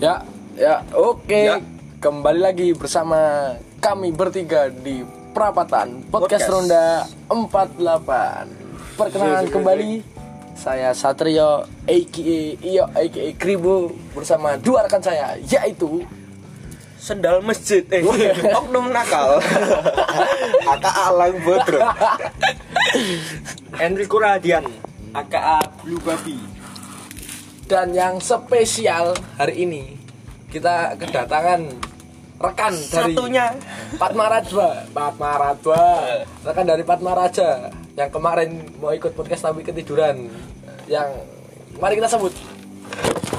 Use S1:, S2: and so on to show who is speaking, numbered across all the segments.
S1: Ya, ya, oke.
S2: Ya.
S1: Kembali lagi bersama kami bertiga di Prapatan Podcast,
S2: Podcast.
S1: Ronda 48.
S3: Iya,
S1: Perkenalan kembali saya Satrio aka Iyo aka Kribo bersama dua rekan saya yaitu
S2: Sendal masjid eh oknum nakal. Aka Alang Bodro.
S3: Enrico Radian aka Blue Babi
S1: dan yang spesial hari ini kita kedatangan rekan dari
S3: satunya
S1: Patmaratwa, Patmaratwa, rekan kan dari Patmaraja yang kemarin mau ikut podcast tapi ketiduran. Yang mari kita sambut.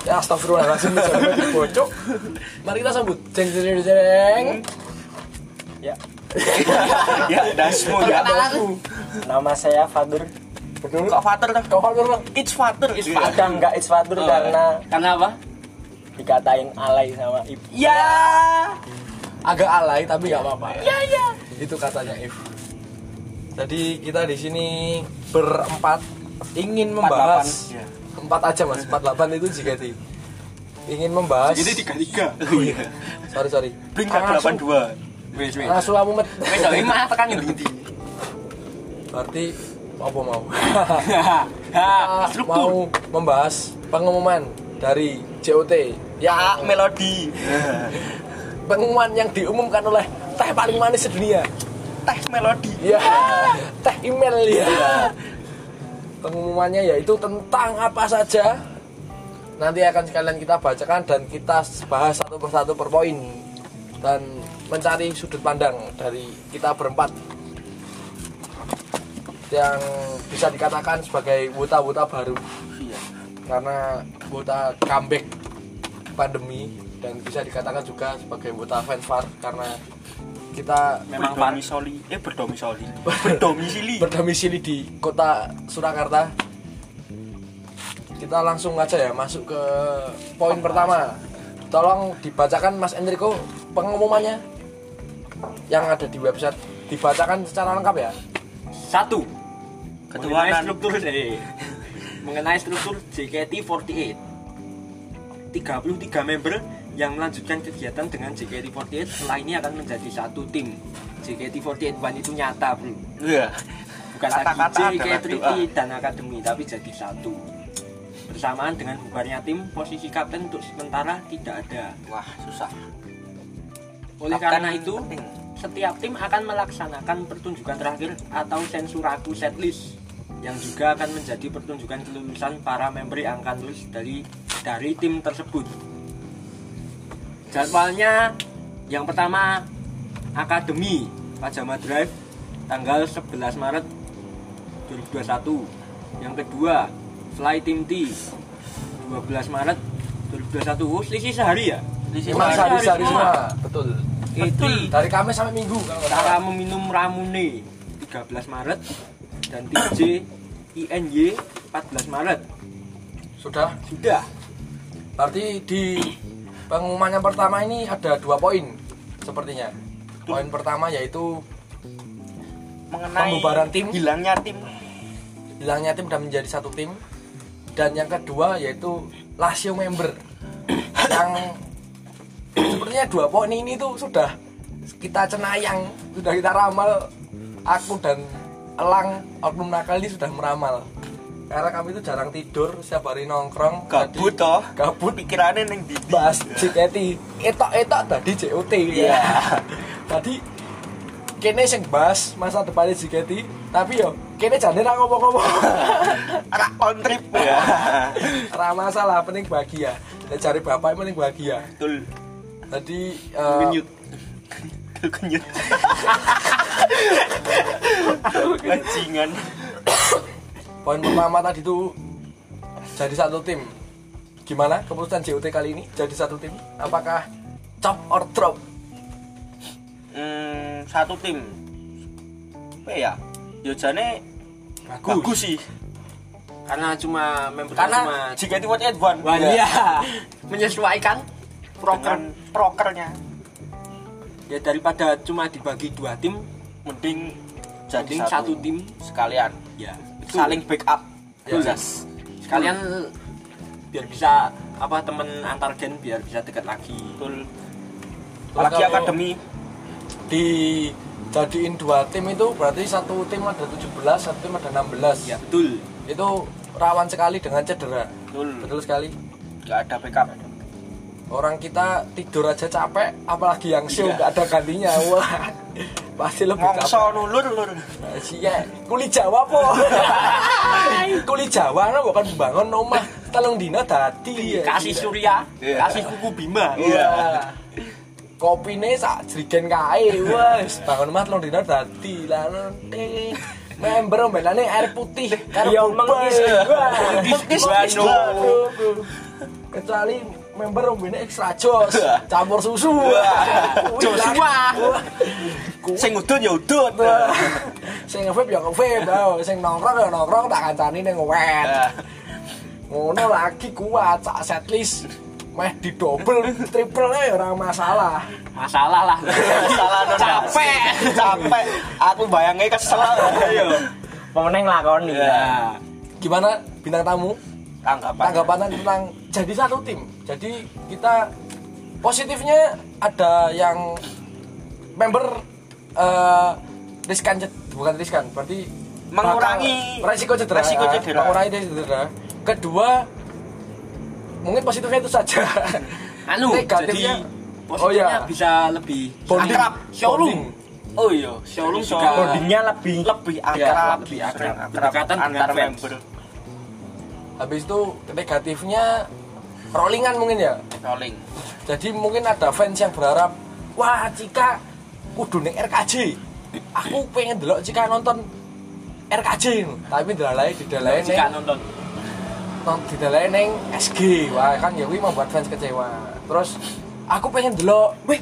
S1: Ya astagfirullahaladzim jangan bocok. Mari kita sambut. Jeng jeng jeng, jeng.
S2: ya dasmu ya.
S3: nama saya Fatur
S1: Kok Fater tuh? Kok Fater tuh?
S3: It's Fatur It's
S2: Iya.
S3: Ada nggak It's Fatur karena karena apa dikatain alay sama ibu ya
S1: Agak alay tapi nggak apa-apa. Iya iya. Itu katanya If. Tadi kita di sini berempat ingin membahas
S2: iya.
S1: empat aja mas empat delapan itu JKT ingin membahas
S2: Jadi tiga tiga.
S1: sorry sorry
S2: Blink delapan dua. Wes wes.
S1: langsung kamu met
S2: Tapi mana tekan inti.
S1: berarti apa mau
S2: Ya,
S1: Kita Ah, mau membahas pengumuman dari JOT ya
S3: melodi
S1: pengumuman yang diumumkan oleh teh paling manis sedunia
S3: teh melodi
S1: ya teh email ya pengumumannya yaitu tentang apa saja nanti akan sekalian kita bacakan dan kita bahas satu persatu per poin dan mencari sudut pandang dari kita berempat yang bisa dikatakan sebagai buta-buta baru
S2: Iya,
S1: karena buta comeback pandemi dan bisa dikatakan juga sebagai buta fanfar karena kita
S2: Memang berdomisili eh berdomisili. Berdomisili.
S1: berdomisili di kota Surakarta. Kita langsung aja ya masuk ke poin pertama. Tolong dibacakan Mas Enrico pengumumannya yang ada di website dibacakan secara lengkap ya.
S4: Satu. Mengenai
S2: Ketuanan.
S4: struktur eh, mengenai struktur JKT48. 33 member yang melanjutkan kegiatan dengan JKT48 setelah ini akan menjadi satu tim. JKT48 One itu nyata, Bro.
S2: Iya.
S4: Bukan
S2: Kata-kata
S4: lagi
S2: adalah doa.
S4: JKT48 dan akademi, tapi jadi satu. Bersamaan dengan bubarnya tim, posisi kapten untuk sementara tidak ada.
S3: wah susah
S4: Oleh karena itu, setiap tim akan melaksanakan pertunjukan terakhir atau sensuraku setlist yang juga akan menjadi pertunjukan kelulusan para member yang akan lulus dari dari tim tersebut. Jadwalnya yang pertama Akademi Pajama Drive tanggal 11 Maret 2021. Yang kedua Fly Team T 12 Maret 2021. Oh, selisih sehari ya?
S1: Mas
S4: sehari
S1: hari hari
S4: semua.
S1: semua. Betul.
S4: Betul.
S1: Dari Kamis sampai Minggu kalau nggak salah.
S4: Cara meminum Ramune 13 Maret dan tim J INY 14 Maret.
S1: Sudah.
S4: Sudah.
S1: Berarti di pengumuman yang pertama ini ada dua poin sepertinya. Poin pertama yaitu
S3: mengenai
S1: Pembubaran tim.
S3: hilangnya tim
S1: hilangnya tim dan menjadi satu tim dan yang kedua yaitu Lazio member yang sepertinya dua poin ini tuh sudah kita cenayang sudah kita ramal aku dan Elang Oknum Nakal ini sudah meramal karena kami itu jarang tidur setiap hari nongkrong
S2: Kabut toh.
S1: Jadi, kabut
S2: Pikirannya neng di.
S1: bahas JKT etok etok tadi JOT ya tadi kene sing bahas masa depannya JKT tapi yo kene jane ra ngomong-ngomong
S2: Rak on trip ya.
S1: Ra masalah, penting bahagia. Dan cari bapak yang penting bahagia.
S2: Betul.
S1: Tadi eh,
S2: Kenyut. Kenyut. Bajingan.
S1: poin pertama tadi tuh jadi satu tim. Gimana keputusan JOT kali ini jadi satu tim? Apakah chop or drop?
S2: Hmm, satu tim. Apa ya? Yo jane bagus. sih.
S4: Karena cuma member cuma
S2: Karena JKT48 one.
S4: Nah. Wah, iya. menyesuaikan
S2: Ya.
S4: program
S2: Proker prokernya
S4: ya daripada cuma dibagi dua tim
S2: mending jadi
S4: Mending
S2: satu.
S4: satu tim.
S2: sekalian.
S4: ya
S2: Saling backup.
S1: Ya.
S2: Jas.
S4: sekalian biar bisa apa temen antar gen biar bisa dekat lagi
S2: betul
S1: Terus
S2: lagi
S1: kalau-
S2: akademi
S1: dijadiin dua tim itu berarti satu tim ada 17 satu tim ada 16 ya
S4: betul
S1: itu rawan sekali dengan cedera
S2: betul
S1: betul sekali
S2: nggak ada backup
S1: orang kita tidur aja capek apalagi yang show nggak ada gantinya wah pasti lebih
S2: ngongso nulur nulur
S1: Nah, Iya, kuli Jawa po. kuli Jawa no bukan bangun omah telung dina dadi. ya.
S4: kasih surya
S2: Iya.
S4: kasih kuku bima
S1: Iya. Kopine sak jrigen kae wes bangun omah telung dina dadi. Lah eh, member ombelane air putih
S3: Iya, mengkis.
S1: Wah,
S2: Mengkis, mengkis.
S1: waduh. Kecuali member ombene ekstra jos, campur susu. Wih,
S2: Joshua.
S1: lah. Wah.
S2: sing udut ya udut
S1: sing nge-vape ya nge-vape ayo. sing nongkrong ya nongkrong tak kancani ning wet
S4: Ya.
S1: ngono lagi kuat sak setlist meh didobel triple ya ora masalah
S4: masalah lah
S2: salah nol
S4: capek Iya.
S2: capek aku bayangnya kesel ayo
S3: Pemenang lakon nih.
S2: ya
S1: gimana bintang tamu
S2: tanggapan
S1: tanggapan tentang jadi satu tim jadi kita positifnya ada yang member eh riskan ced- bukan riskan berarti
S2: Mengurangi
S1: bakal resiko cedera, ya.
S2: resiko cedera.
S1: mengurangi resiko cedera kedua mungkin positifnya itu saja
S4: anu
S1: negatifnya
S4: jadi
S1: oh
S4: positifnya
S1: ya
S4: bisa lebih
S1: Bonding.
S4: akrab showroom
S1: Bonding.
S4: oh iya showroom
S2: Jadi
S4: juga
S2: showroom.
S3: Bodinya lebih
S2: lebih
S4: Iya,
S2: akrab
S4: lebih akrab.
S2: akrab
S4: Berdekatan dengan
S2: antar
S4: fans.
S2: member
S1: habis itu negatifnya rollingan mungkin ya
S2: rolling
S1: jadi mungkin ada fans yang berharap wah Cika kudu ning RKJ aku pengen delok Cika nonton RKJ tapi dilalai didalai
S4: jika
S1: ning
S4: nonton
S1: nong- didalai ning SG wah kan ya kuwi membuat fans kecewa terus aku pengen delok wih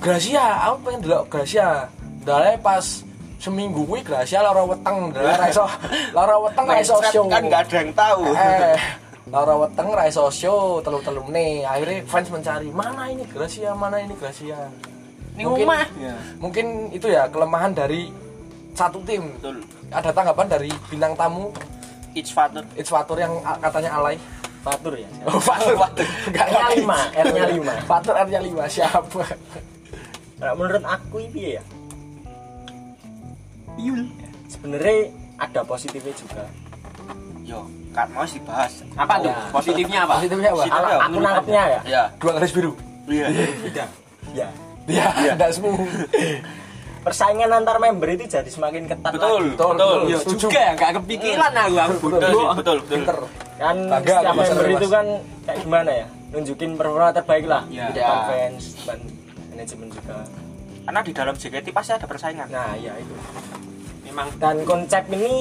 S1: Gracia aku pengen delok Gracia dalai pas seminggu kuwi Gracia lara weteng dalai ra iso lara weteng ra iso
S2: Mencret
S1: show
S2: kan nggak ada yang tahu Iya.
S1: eh lara weteng ra iso show telu-telu nih akhirnya fans mencari mana ini Gracia mana ini Gracia
S4: Ini
S1: Mungkin-
S4: omah.
S1: mungkin itu ya kelemahan dari satu tim
S2: betul
S1: ada tanggapan dari bintang tamu
S2: each father
S1: It's Fatur yang a- katanya alay
S3: fatur ya.
S1: Oh, Fatur, Fatur.
S3: R-nya lima, R-nya lima.
S1: Fatur R-nya lima, siapa?
S3: Nah, menurut aku ini ya. Yul. Sebenarnya ada positifnya juga.
S2: yo kan mau dibahas
S4: apa tuh
S1: Ya.
S4: positifnya apa
S1: Positifnya apa?
S2: Positif.
S3: Kalau
S2: ya,
S3: aku nangkepnya ya.
S2: ya
S1: Dua garis biru.
S2: iya
S3: Ya.
S1: Iya,
S2: Iya.
S1: ada semua.
S3: Persaingan antar member itu jadi semakin ketat
S2: betul
S3: lagi.
S1: Betul,
S2: betul
S1: betul.
S2: iya.
S4: Yo,
S1: Setuju.
S4: juga ya, nggak kepikiran aku aku
S1: Betul,
S4: bodoh.
S2: betul betul betul
S1: Pinter.
S3: Kan
S1: Bangga
S3: setiap
S1: aku, Mas
S3: member
S1: Mas.
S3: itu kan kayak gimana ya? Nunjukin performa terbaik lah.
S4: Ya.
S3: Di depan fans, di depan manajemen juga.
S2: karena di dalam JKT pasti ada persaingan
S3: Nah, ya itu.
S4: memang
S3: Dan konsep ini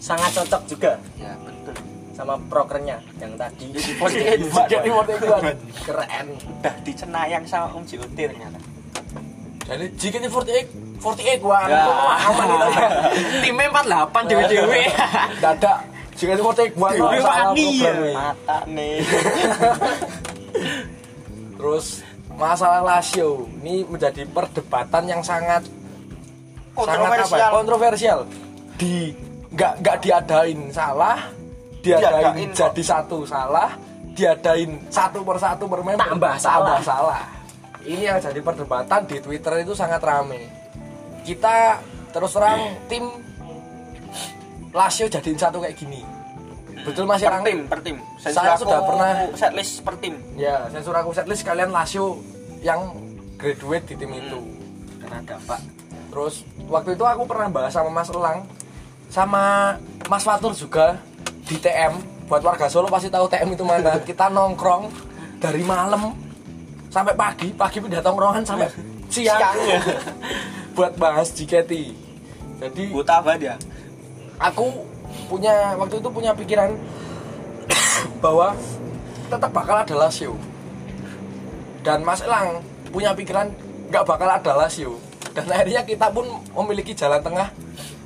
S3: sangat cocok juga
S2: ya betul
S3: sama prokernya yang tadi.
S2: jadi
S3: Iya,
S2: positif
S1: Jadi waktu itu kan. keren.
S2: udah dicenayang sama Om JOT ternyata
S1: Jadi JKT48 48 wah,
S2: Ya.
S1: aman itu ya.
S4: timnya 48 dewe-dewe
S1: Dadak JKT48 wah,
S4: Dewi
S1: salah
S4: Wani, ya.
S1: programnya.
S2: mata nih
S1: Terus masalah Lazio ini menjadi perdebatan yang sangat sangat
S2: kontroversial
S1: apa, ya? kontroversial. Di nggak nggak diadain salah, diadain,
S2: Diadain kok.
S1: jadi satu salah, diadain satu persatu per member
S3: Tambah
S1: tambah salah. Ini yang jadi perdebatan di Twitter itu sangat rame. Kita terus terang tim Lazio jadiin satu kayak gini. Betul Mas
S2: per
S1: Irang?
S2: tim per tim Sensor
S1: Saya
S2: aku
S1: sudah pernah-
S2: setlist per tim
S1: Ya, sensor aku setlist kalian Lazio yang graduate di tim itu.
S4: kena dampak
S1: Terus waktu itu aku pernah bahas sama Mas Elang sama Mas Fatur juga di TM. Buat warga Solo pasti tahu TM itu mana. Kita nongkrong dari malam sampai pagi, pagi pindah tongkrongan sampai siang.
S2: Siang.
S1: buat bahas JKT. Jadi
S2: buta banget ya
S1: aku punya waktu itu punya pikiran bahwa tetap bakal ada Lazio dan Mas Elang punya pikiran nggak bakal ada Lazio dan akhirnya kita pun memiliki jalan tengah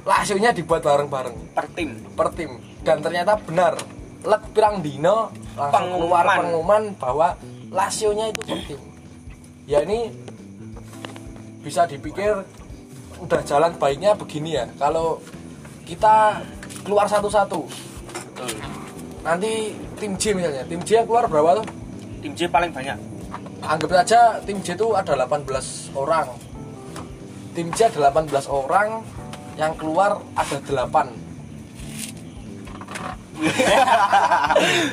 S1: Lazio-nya dibuat bareng-bareng
S2: per tim
S1: per tim dan ternyata benar let pirang dino langsung keluar
S2: Pengumuman.
S1: pengumuman bahwa Lazio-nya itu per tim ya ini bisa dipikir udah jalan baiknya begini ya kalau kita keluar satu-satu
S2: betul
S1: nanti tim J misalnya tim J yang keluar berapa tuh
S2: tim J paling banyak
S1: anggap saja tim J itu ada 18 orang tim J ada 18 orang yang keluar ada 8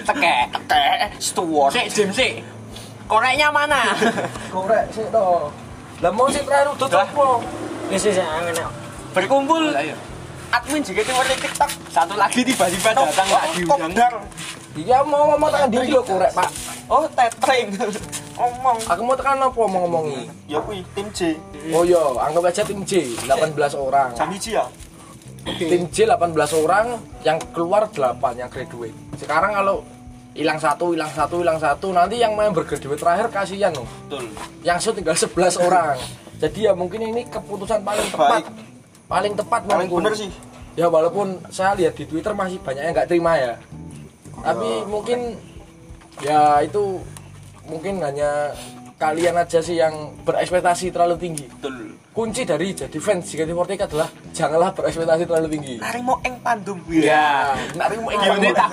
S4: tekek
S2: kayak Stewart
S4: sik Jim sik koreknya mana
S1: korek sih toh lah mau sih terakhir udah sopo
S3: Wis wis angen aku.
S2: berkumpul admin juga tim Warrior TikTok
S4: satu lagi tiba-tiba datang nggak diundang
S2: kopdar
S1: iya mau ngomong tekan diri lo korek pak
S2: oh tetring omong
S1: aku mau tekan apa mau ngomongi
S2: ya kui tim J
S1: oh iya anggap aja tim J 18 orang
S2: jam hiji ya
S1: tim J 18 orang yang keluar 8 yang graduate sekarang kalau hilang satu hilang satu hilang satu nanti yang main bergraduate terakhir kasihan loh
S2: betul
S1: yang shoot tinggal 11 orang jadi ya mungkin ini keputusan paling tepat
S2: Baik.
S1: paling tepat
S2: paling
S1: menurutku.
S2: bener sih
S1: ya walaupun saya lihat di Twitter masih banyak yang nggak terima ya tapi mungkin ya itu mungkin hanya kalian aja sih yang berekspektasi terlalu tinggi
S2: betul
S1: kunci dari jadi fans JKT48 adalah janganlah berekspektasi terlalu tinggi
S2: narimo eng pandum
S1: ya nak terima impan
S4: Gimana tak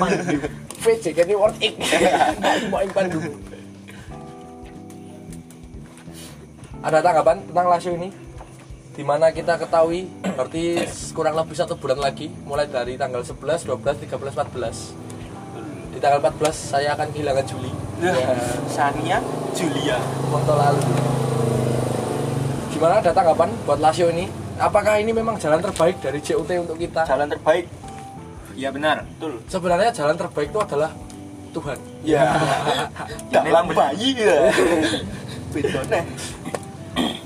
S1: fans JKT48 nak terima impan dulu ada tanggapan tentang Lazio ini dimana kita ketahui berarti kurang lebih satu bulan lagi mulai dari tanggal 11, 12, 13, 14 di tanggal 14 saya akan kehilangan Juli
S2: ya. Sania Julia
S1: Monto lalu gimana ada tanggapan buat Lazio ini apakah ini memang jalan terbaik dari JUT untuk kita
S2: jalan terbaik
S4: ya benar
S2: betul
S1: sebenarnya jalan terbaik itu adalah Tuhan
S2: ya dalam bayi ya bedone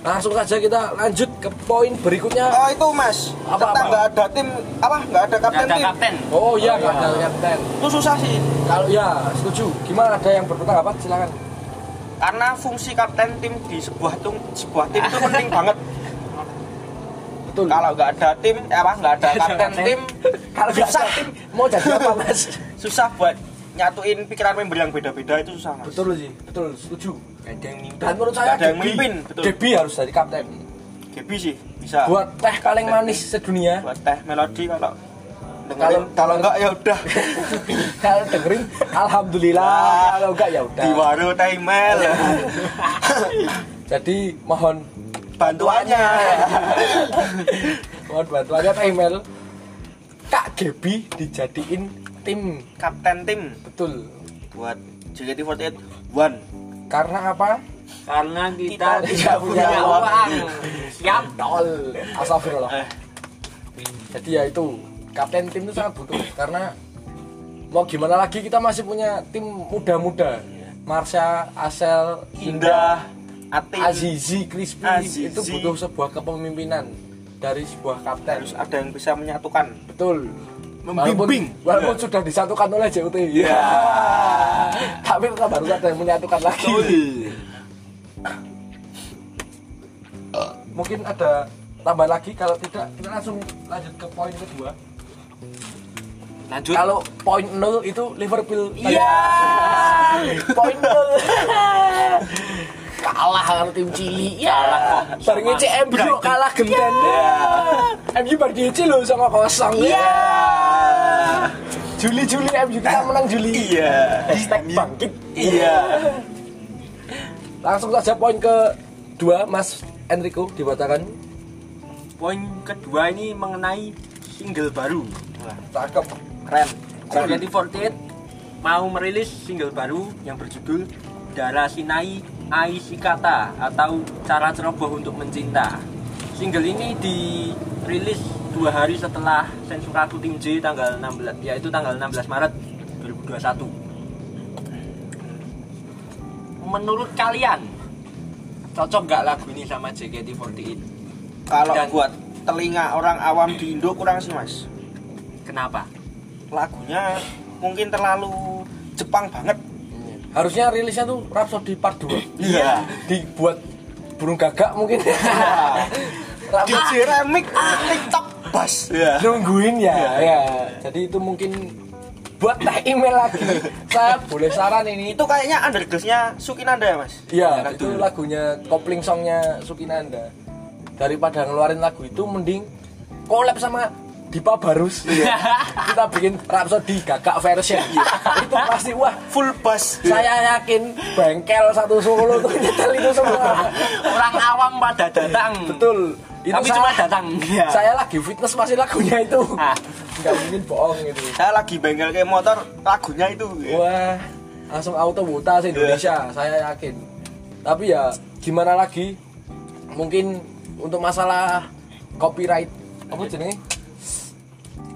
S1: langsung saja kita lanjut ke poin berikutnya
S2: oh itu mas
S1: Apa,
S2: kita
S1: apa?
S2: nggak ada tim apa nggak ada
S4: nggak
S2: kapten
S4: ada
S2: tim
S4: kapten
S1: oh iya nggak ada kapten
S2: itu susah sih
S1: kalau ya setuju gimana ada yang berpendapat silakan
S2: karena fungsi kapten tim di sebuah tim sebuah tim itu penting banget
S1: betul
S2: kalau nggak ada tim eh, apa nggak ada kapten tim
S1: kalau nggak
S2: susah
S1: ada tim, mau jadi apa mas
S2: susah buat nyatuin pikiran member yang beda-beda itu susah mas
S1: betul sih betul setuju
S4: nggak ada yang mimpin
S1: dan menurut saya
S2: Nggak ada yang
S1: Debi-
S2: mimpin, betul.
S1: Debi harus jadi kapten
S2: Gebi sih bisa buat,
S1: buat teh kaleng manis sedunia
S2: teh melodi kalau dengerin
S1: Kalau-
S2: kalau nggak ya udah
S1: kalau dengerin alhamdulillah
S2: Ah.
S1: kalau enggak ya udah
S2: di waru teh mel
S1: jadi mohon
S2: bantuannya
S1: mohon bantuannya teh email Kak Gebi dijadiin tim
S2: kapten tim
S1: betul
S2: buat JKT48 one
S1: karena apa
S4: karena
S2: Kita
S4: kita tidak punya uang siap
S1: tol astagfirullah
S2: Eh.
S1: jadi ya itu kapten tim itu sangat butuh karena mau gimana lagi kita masih punya tim muda-muda Marsha, Asel, Indah,
S2: indah Ati
S1: Azizi, Crispy
S2: Azizi.
S1: itu butuh sebuah kepemimpinan dari sebuah kapten
S2: harus ada yang bisa menyatukan
S1: betul
S2: Membimbing.
S1: walaupun, walaupun sudah disatukan oleh JUT tapi tetap harus ada yang menyatukan lagi
S2: Oh, iya.
S1: mungkin ada tambah lagi kalau tidak kita langsung lanjut ke poin kedua
S4: lanjut
S1: kalau poin nol itu Liverpool
S4: Iya.
S1: poin nol kalah sama tim Chili ya bareng
S4: Sama
S1: ECM bro kalah Iya. gendan MU bareng DC lo sama kosong ya Juli Juli MU kita menang Juli
S2: iya
S1: hashtag bangkit
S2: iya
S1: langsung saja poin ke dua Mas Enrico dibacakan
S4: poin kedua ini mengenai single baru
S1: cakep
S2: keren
S4: JKT48 mau merilis single baru yang berjudul Dara Sinai Aisikata atau Cara Ceroboh untuk Mencinta. Single ini dirilis dua hari setelah Sensuraku Tim J tanggal 16 yaitu tanggal 16 Maret 2021. Menurut kalian cocok nggak lagu ini sama JKT48?
S2: kalau
S4: Dan-
S2: buat telinga orang awam di Indo kurang sih mas
S4: Kenapa?
S2: lagunya mungkin terlalu Jepang banget
S1: harusnya rilisnya tuh Rhapsody part 2
S2: iya
S1: dibuat burung gagak mungkin
S2: DJ remix TikTok bas iya
S1: nungguin ya, ya. Jadi itu mungkin buat teh email lagi. Saya boleh saran ini.
S2: itu kayaknya undergroundnya Sukinanda ya mas
S1: Ya, itu lagunya kopling songnya Sukinanda. Daripada ngeluarin lagu itu mending collab sama Dipa Barus iya. kita bikin Rhapsody gagak version
S2: Iya.
S1: itu pasti wah
S2: full bass
S1: saya yakin bengkel satu solo tuh nyetel itu semua
S4: Orang awam pada datang.
S1: betul itu
S4: Tapi
S1: saya-
S4: cuma datang. Iya.
S1: saya lagi fitness masih lagunya itu
S4: Ah.
S1: nggak mungkin bohong gitu
S2: saya lagi bengkel kayak motor lagunya itu Iya.
S1: Wah, langsung auto buta sih Indonesia,
S4: Iya.
S1: saya yakin. Tapi ya gimana lagi? Mungkin untuk masalah copyright
S4: Iya.
S1: apa jenenge?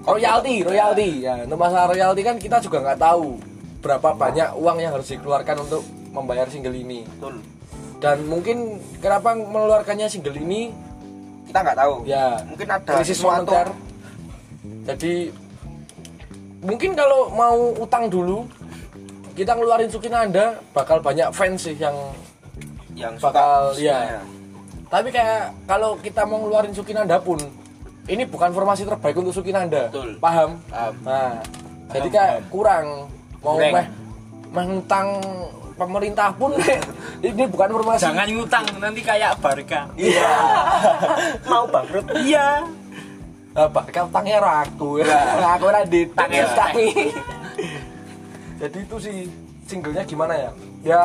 S1: Royalty, royalty. Ya, untuk masalah royalty kan kita juga nggak tahu
S4: Iya.
S1: berapa banyak uang yang harus dikeluarkan untuk membayar single ini.
S2: betul
S1: Dan mungkin kenapa mengeluarkannya single ini?
S2: kita nggak tahu
S1: Ya,
S2: mungkin ada
S1: krisis
S2: sesuatu
S1: moneter. Jadi mungkin kalau mau utang dulu kita ngeluarin sukin anda bakal banyak fans sih yang
S2: yang suka
S1: bakal
S2: musiknya.
S1: ya tapi kayak kalau kita mau ngeluarin sukin anda pun ini bukan formasi terbaik untuk sukin anda
S2: Betul.
S1: paham
S2: Paham.
S1: nah jadi kayak kurang mau
S4: Kurang.
S1: meh menentang pemerintah pun ini bukan formasi
S4: Jangan ngutang nanti kayak Barca.
S2: iya
S3: mau bangkrut
S4: Iya.
S1: Lah, Pak, kan utangnya ora aku. Nah, aku ora di utangnya
S4: Utangnya
S1: tapi. Jadi itu sih singlenya gimana ya? Ya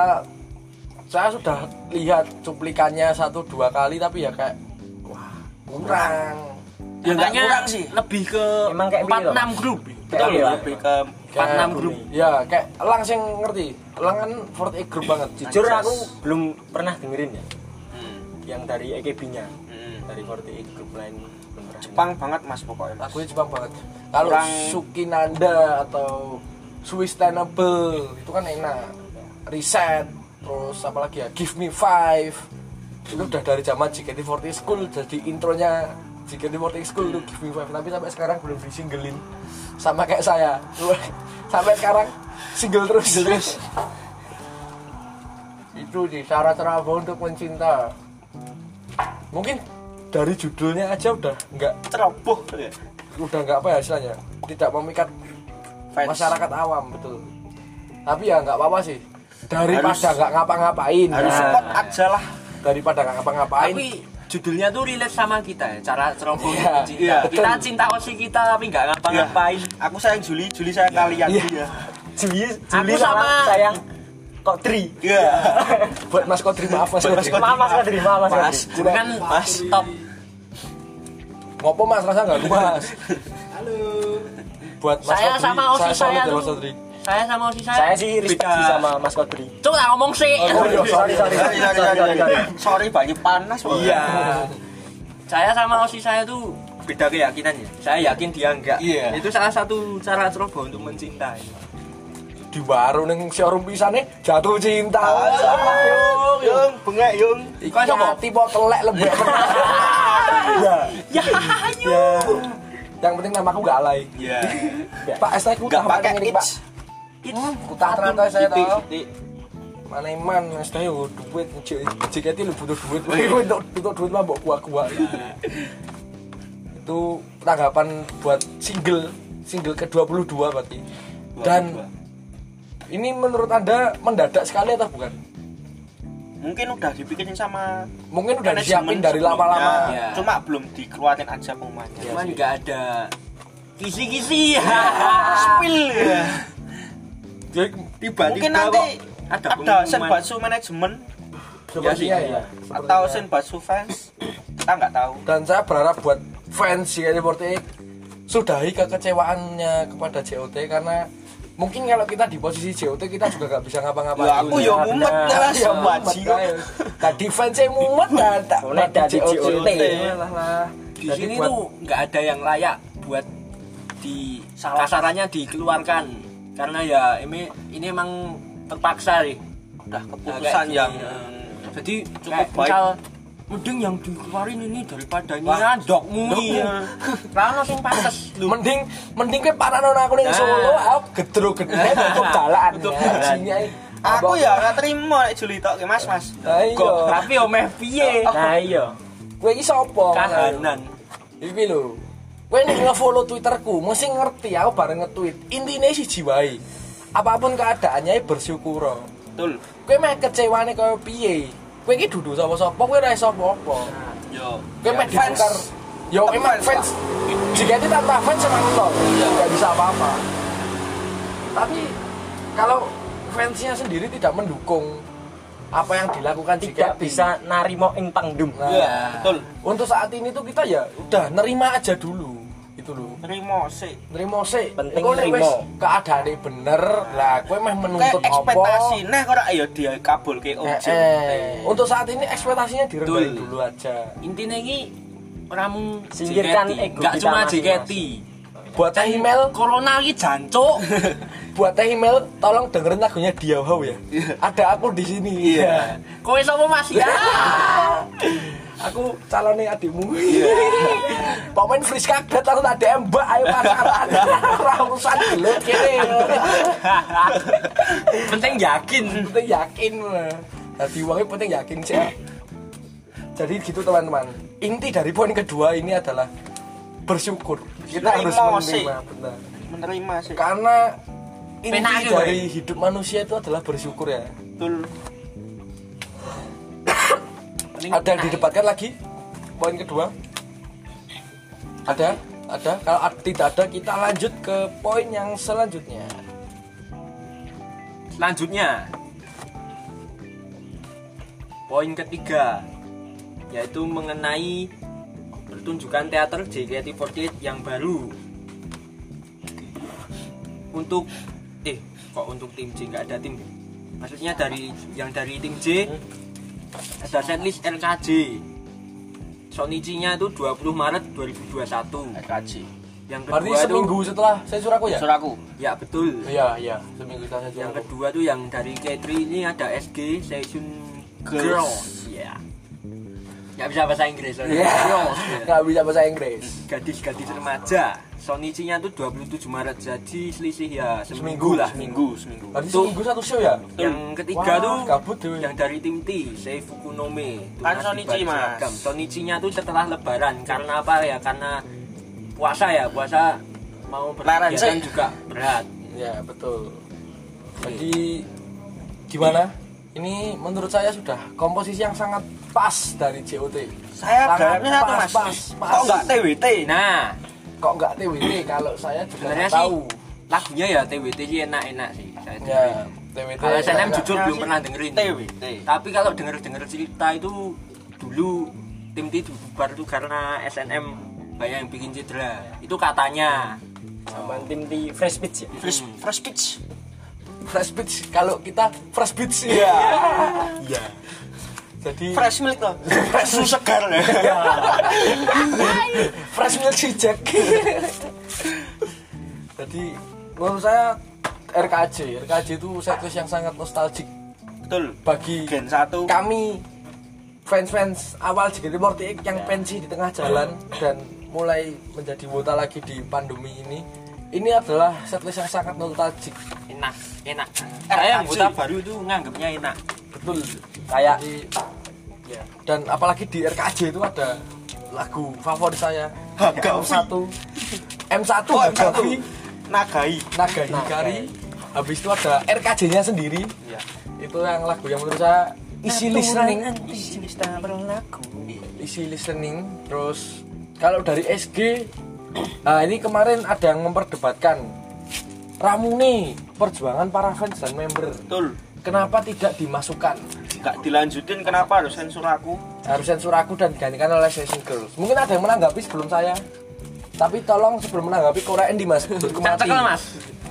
S1: saya sudah lihat cuplikannya satu dua kali tapi ya kayak wah kurang.
S4: Ya
S2: nggak
S4: nggak
S2: kurang sih.
S4: Lebih ke
S3: Emang kayak
S4: empat
S3: gitu,
S4: enam grup.
S2: betul
S3: Iya.
S2: lebih ke
S4: Empat
S1: Kayak-
S4: enam grup.
S1: Ya kayak elang sing ngerti. Elang kan fourth A group banget.
S3: jujur aku belum pernah dengerin ya yang dari EKB nya dari 48 grup lain belum pernah
S2: Jepang banget mas pokoknya mas
S1: Lagunya Jepang banget. Kalau
S2: Kurang-
S1: Sukinanda atau Sustainable itu kan enak. Reset, terus apa lagi ya? Give Me Five. Itu udah dari zaman JKT48 School jadi intronya JKT48 School itu Give Me Five tapi sampai sekarang belum disinggelin. Sama kayak saya. sampai sekarang single terus. terus. itu di syarat Rabu untuk mencinta. Mungkin dari judulnya aja udah nggak
S2: ceroboh ya.
S1: udah nggak apa ya istilahnya tidak memikat
S2: Fans.
S1: masyarakat awam betul tapi ya nggak apa-apa sih daripada
S2: Harus-
S1: nggak ngapa-ngapain
S2: harus
S1: Nah,
S2: support aja lah
S1: daripada nggak ngapa-ngapain
S4: Tapi judulnya tuh relate sama kita ya, cara ceroboh
S1: Iya,
S4: cinta.
S2: iya,
S4: kita cinta osi kita tapi nggak ngapa-ngapain.
S2: aku sayang Juli Juli sayang kalian
S1: Iya.
S2: iya
S3: Juli
S4: Juli sama-
S3: sayang kok Tri
S2: iya
S1: buat mas Kodri maaf mas
S2: Buat Mas
S1: Kodri
S2: Kodri.
S3: maaf mas Tri maaf mas
S2: Mas.
S3: Kodri.
S1: Kurang.
S4: Kan
S2: Mas.
S4: top
S1: ngopo mas rasa nggak mas halo buat mas
S4: Saya
S1: Kodri,
S4: sama Osi
S1: saya, selalu
S4: saya
S1: dari
S4: tuh.
S1: mas Kodri
S4: Saya sama osi saya.
S3: saya sih respect
S2: Beda.
S3: sih sama mas Kodri
S4: Coba tak ngomong sih.
S1: Oh, iya, sorry, sorry.
S2: sorry sorry sorry sorry sorry banyak panas pokoknya.
S4: Iya. Saya sama osi saya tuh beda keyakinan ya. Saya yakin dia enggak.
S2: Iya.
S4: Itu salah satu cara ceroboh untuk mencintai.
S1: di baru neng showroom pisane jatuh cinta
S2: Yung, yung, bengek, yung.
S1: Iki
S4: Kau coba?
S1: hati mau telek lebih ya
S4: Ya,
S1: ya yang penting namaku nggak alay
S2: Iya.
S1: pak saya ku
S2: Enggak
S1: tahan
S2: pakai
S1: ini,
S2: itch. gitu.
S1: Kutah ternyata Hmm, saya
S2: Titik,
S1: tahu.
S2: titik.
S1: Mana iman, saya yo duit, J- JKT lu butuh duit, Kowe untuk butuh duit mah mbok gua-gua. Itu tanggapan buat single single ke-22 berarti. Dan ini menurut Anda mendadak sekali atau bukan?
S2: mungkin udah dipikirin sama
S1: Mungkin udah
S2: manajemen
S1: disiapin dari
S2: sebelumnya.
S1: lama-lama.
S4: Iya.
S2: Cuma belum dikeluarin aja pengumumannya.
S1: Iya,
S4: Cuman nggak ada kisi-kisi.
S2: Spill ya.
S4: Iya.
S1: Jadi
S4: Tiba-tiba
S2: Mungkin nanti
S4: kok ada
S2: ada
S4: pengumuman.
S2: Senbatsu manajemen
S1: sepertinya ya.
S2: Iya, atau
S1: sepertinya.
S2: Senbatsu fans kita nggak tahu.
S1: dan saya berharap buat fans JKT48 sudahi kekecewaannya kepada JOT karena mungkin kalau kita di posisi JOT kita juga gak bisa ngapa-ngapain
S2: Ya, aku yo mumet lah
S1: Ya,
S2: sama
S1: mumet,
S2: Iya, Jio.
S1: ayo. tadi fansnya mumet dan tak
S3: Oleh dari JOT.
S1: Yalah, lah.
S4: di
S1: Jadi
S4: sini
S1: buat-
S4: tuh nggak ada yang layak buat di sasarannya dikeluarkan karena ya ini ini emang terpaksa nih
S2: Udah keputusan
S1: gitu.
S4: Agak-
S2: yang
S4: jadi
S2: Cukup
S4: kayak
S2: baik.
S4: misal mending yang dikeluarin ini daripada ini
S2: Wah,
S4: nyandokmu
S2: iya.
S4: karena sing pantes lu
S1: mending mending kayak para nona aku yang
S4: Nah.
S1: solo aku gedro gedro untuk jalan
S4: Tutup
S1: Ya,
S4: jalan.
S1: jinnya, eh.
S2: aku
S1: Abang- iya.
S2: ya nggak terima nek Juli tok, Mas Mas.
S1: ayo
S4: kok tapi omeh piye
S3: nah iya
S1: gue ini sopo
S4: kahanan
S1: Iki lho. Kowe nek nge-follow Twitterku, mesti ngerti aku bareng nge-tweet. Intine siji wae. Apapun keadaannya ya bersyukur.
S2: Betul.
S1: Kowe meh kecewane kaya piye? Kowe iki dudu sapa-sapa, kowe ora iso apa-apa.
S2: Yo.
S1: Kowe meh dibongkar Yo emang fans JKT tanpa fans emang nol, nggak bisa apa-apa. Tapi kalau fansnya sendiri tidak mendukung apa yang dilakukan JKT,
S3: tidak bisa narimo ing pangdum
S1: Nah,
S2: Iya, betul.
S1: Untuk saat ini tuh kita ya udah nerima aja dulu, itu loh.
S2: Terima sih.
S1: Nerimo sih.
S3: Penting
S1: Engko nek
S3: nerimo.
S1: wis keadaane bener, lah kowe meh
S2: Kayak
S1: menuntut
S2: ekspektasi
S1: apa?
S2: nah ora ya dia kabul kayak
S1: Eh,
S2: objek.
S1: eh. Untuk saat ini ekspektasinya direndahin
S2: Betul.
S1: dulu aja.
S4: intinya ini ramu
S3: Singkirkan
S4: JKT.
S3: ego
S4: nggak
S3: kita
S4: cuma JKT
S3: masing-masing.
S1: Buat teh email,
S4: corona ini jancok
S1: buat teh email tolong dengerin lagunya Diau Hau ya.
S2: Iya.
S1: Ada aku di sini.
S2: Iya.
S4: kowe sama mas ya
S1: aku calonnya adikmu
S2: Iya.
S1: pemain free kaget aku tak DM mbak ayo pacaran Ora urusan dulu kene
S4: penting yakin
S1: penting yakin lah. tadi uangnya penting yakin sih jadi gitu teman-teman inti dari poin kedua ini adalah bersyukur kita harus
S2: Menerima sih.
S1: menerima benar
S2: Menerima sih.
S1: karena inti
S4: Penake,
S1: dari hidup manusia itu adalah bersyukur ya
S2: Betul.
S1: ada yang didebatkan lagi poin kedua ada ada kalau ad- tidak ada kita lanjut ke poin yang selanjutnya
S4: selanjutnya poin ketiga yaitu mengenai pertunjukan teater JKT48 yang baru untuk eh kok untuk tim J nggak ada tim maksudnya dari yang dari tim J ada setlist LKJ Sonichinya itu 20 Maret 2021
S2: Kaji.
S4: yang kedua
S1: berarti
S4: itu-
S1: seminggu setelah saya aku ya
S2: Suraku.
S4: ya betul
S1: iya iya seminggu setelah saya
S4: yang kedua tuh yang dari K3 ini ada SG Session
S2: Girls.
S4: Girls. Ya. Nggak bisa bahasa Inggris. sorry.
S1: Iya.
S4: Girls. ya.
S1: nggak bisa bahasa Inggris
S4: Gadis-gadis remaja. Sonichinya tuh 27 Maret jadi selisih ya
S1: Seminggu,
S4: seminggu, lah.
S2: Seminggu, seminggu.
S1: berarti
S4: Tuh.
S1: seminggu satu show ya
S4: Yang ketiga
S1: Wah,
S4: tuh
S1: gabut tuh.
S4: yang dari tim T, Seifuku no Me.
S2: Kan
S4: Tunas
S2: Sonichi,
S4: dibalik
S2: Mas.
S4: seragam. Sonichinya tuh setelah lebaran karena apa ya? Karena puasa ya, puasa mau
S2: Laran,
S4: berkegiatan
S2: sih.
S4: juga berat.
S1: ya betul jadi gimana ini menurut saya sudah komposisi yang sangat pas dari JOT
S2: Saya
S1: Sangat
S2: berharapnya satu
S1: pas,
S2: mas.
S1: pas, pas.
S2: Kok nggak TWT?
S4: Nah,
S1: kok nggak TWT kalau saya juga
S4: sebenarnya
S1: nggak
S4: sih
S1: tahu
S4: lagunya ya TWT sih enak-enak sih saya
S1: ya
S4: dengerin.
S1: TWT
S4: kalau SNM
S1: enak.
S4: jujur belum pernah dengerin
S2: TWT.
S4: tapi kalau denger denger cerita itu dulu tim T bubar itu karena SNM banyak yang bikin cedera itu katanya
S3: sama tim di fresh pitch ya
S2: Fresh,
S1: Hmm.
S2: fresh pitch.
S1: fresh beach kalau kita fresh beach ya Iya. jadi
S2: Fresh milk loh. Fresh susu segar ya.
S1: fresh milk si Jack jadi menurut saya RKJ RKJ itu setlist yang sangat nostalgic
S2: Betul.
S1: bagi
S2: Gen satu.
S1: kami fans-fans awal JKT48 yang pensi di tengah jalan dan mulai menjadi wota lagi di pandemi ini ini adalah setlist yang sangat nostalgic
S4: enak enak saya yang
S2: asli.
S4: buta baru itu nganggapnya enak
S1: betul
S3: Kayak-
S1: Jadi, ya. dan apalagi di RKJ itu ada lagu favorit saya
S2: Hagawi.
S1: M1 M1
S2: Oh, yang satu.
S1: Hagawi
S2: Nagai.
S1: Naga Hikari habis itu ada RKJ nya sendiri
S2: Iya.
S1: itu yang lagu yang menurut saya isi
S3: Nah,
S1: listening
S2: Isi listrik berlaku.
S1: isi listening terus kalau dari SG nah ini kemarin ada yang memperdebatkan Ramune perjuangan para fans dan member
S2: Betul.
S1: kenapa tidak dimasukkan
S2: Nggak dilanjutin kenapa harus sensor aku?
S1: harus sensor aku dan digantikan oleh session girls mungkin ada yang menanggapi sebelum saya tapi tolong sebelum menanggapi korean di mas tutku
S4: Cek-
S1: mati
S4: cekel mas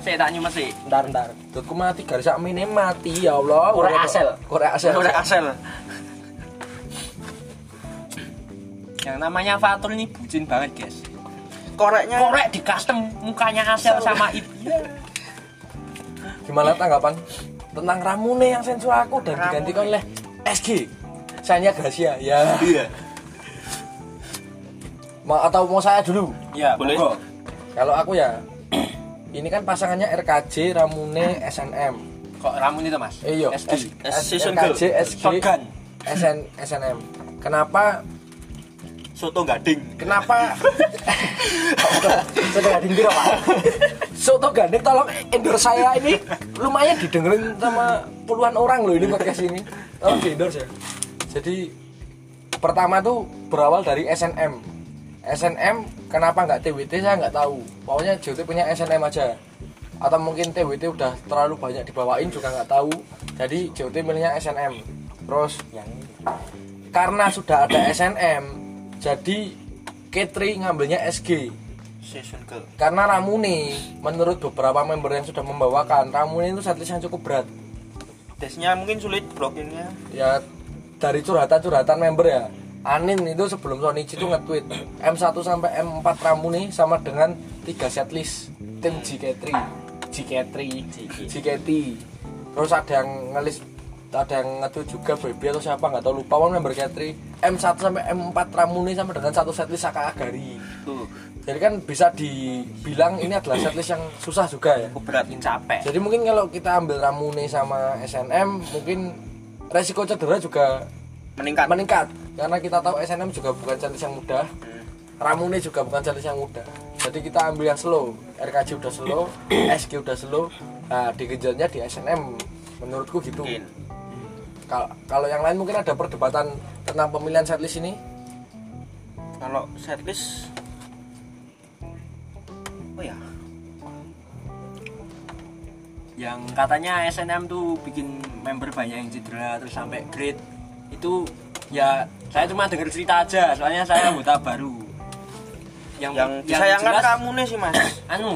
S4: saya tak nyumet sih
S3: ntar ntar
S1: tutku mati garis akmine mati ya Allah
S3: Korea asel.
S1: korea asel
S2: Oleh Asel.
S4: yang namanya Fatur ini bucin banget guys
S2: Koreknya.
S4: korek di custom mukanya Asel sama Ibu
S1: Gimana tanggapan tentang Ramune yang sensor aku dan digantikan oleh SG? Sanya Gracia ya.
S2: Iya.
S1: Mau atau mau saya dulu?
S4: ya
S2: Boleh.
S4: monggo.
S1: Kalau aku ya ini kan pasangannya RKJ, Ramune, SNM.
S4: kok ramun itu mas
S1: Eh, yo.
S4: SG.
S1: S-
S2: Session
S1: RKJ,
S2: Girl.
S1: SG,
S4: Shotgun.
S1: SN, SNM. Kenapa?
S2: Soto gading.
S1: Kenapa? Sudah gading piro, Pak? Soto Gandeng tolong endorse saya ini lumayan didengerin sama puluhan orang loh ini podcast ini. Tolong di endorse ya. Jadi pertama tuh berawal dari SNM. SNM kenapa nggak TWT saya nggak tahu. Pokoknya JT punya SNM aja. Atau mungkin TWT udah terlalu banyak dibawain juga nggak tahu. Jadi JT milihnya SNM. Terus
S3: yang
S1: karena sudah ada SNM, jadi Ketri ngambilnya SG.
S2: Session ke
S1: Karena Ramune, menurut beberapa member yang sudah membawakan, Ramune itu setlist yang cukup berat.
S2: tesnya mungkin sulit blockingnya
S1: ya dari curhatan-curhatan member ya Anin itu sebelum Sonichi itu nge-tweet M1 sampai M4 Ramuni sama dengan 3 setlist tim GK3 GK3 GKT terus ada yang ngelis ada yang nge-tweet juga Baby atau siapa nggak tahu lupa pokoknya member K3 M1 sampai M4 Ramuni sama dengan satu setlist Saka Agari
S2: tuh
S1: jadi kan bisa dibilang ini adalah setlist yang susah juga ya
S2: aku berat
S4: Makin capek.
S1: jadi mungkin kalau kita ambil Ramune sama SNM mungkin resiko cedera juga
S2: meningkat
S1: meningkat karena kita tahu SNM juga bukan challenge yang mudah Ramune juga bukan challenge yang mudah jadi kita ambil yang slow RKJ udah slow SG udah slow nah dikejarnya di SNM menurutku gitu
S2: mungkin
S1: Kal- kalau yang lain mungkin ada perdebatan tentang pemilihan setlist ini
S2: kalau setlist oh ya
S4: Yang katanya SNM tuh bikin member banyak yang cedera terus sampai grade itu ya saya cuma dengar cerita aja soalnya saya anggota baru. Yang
S2: yang disayangkan
S4: jelas-
S2: kamu nih sih mas
S4: anu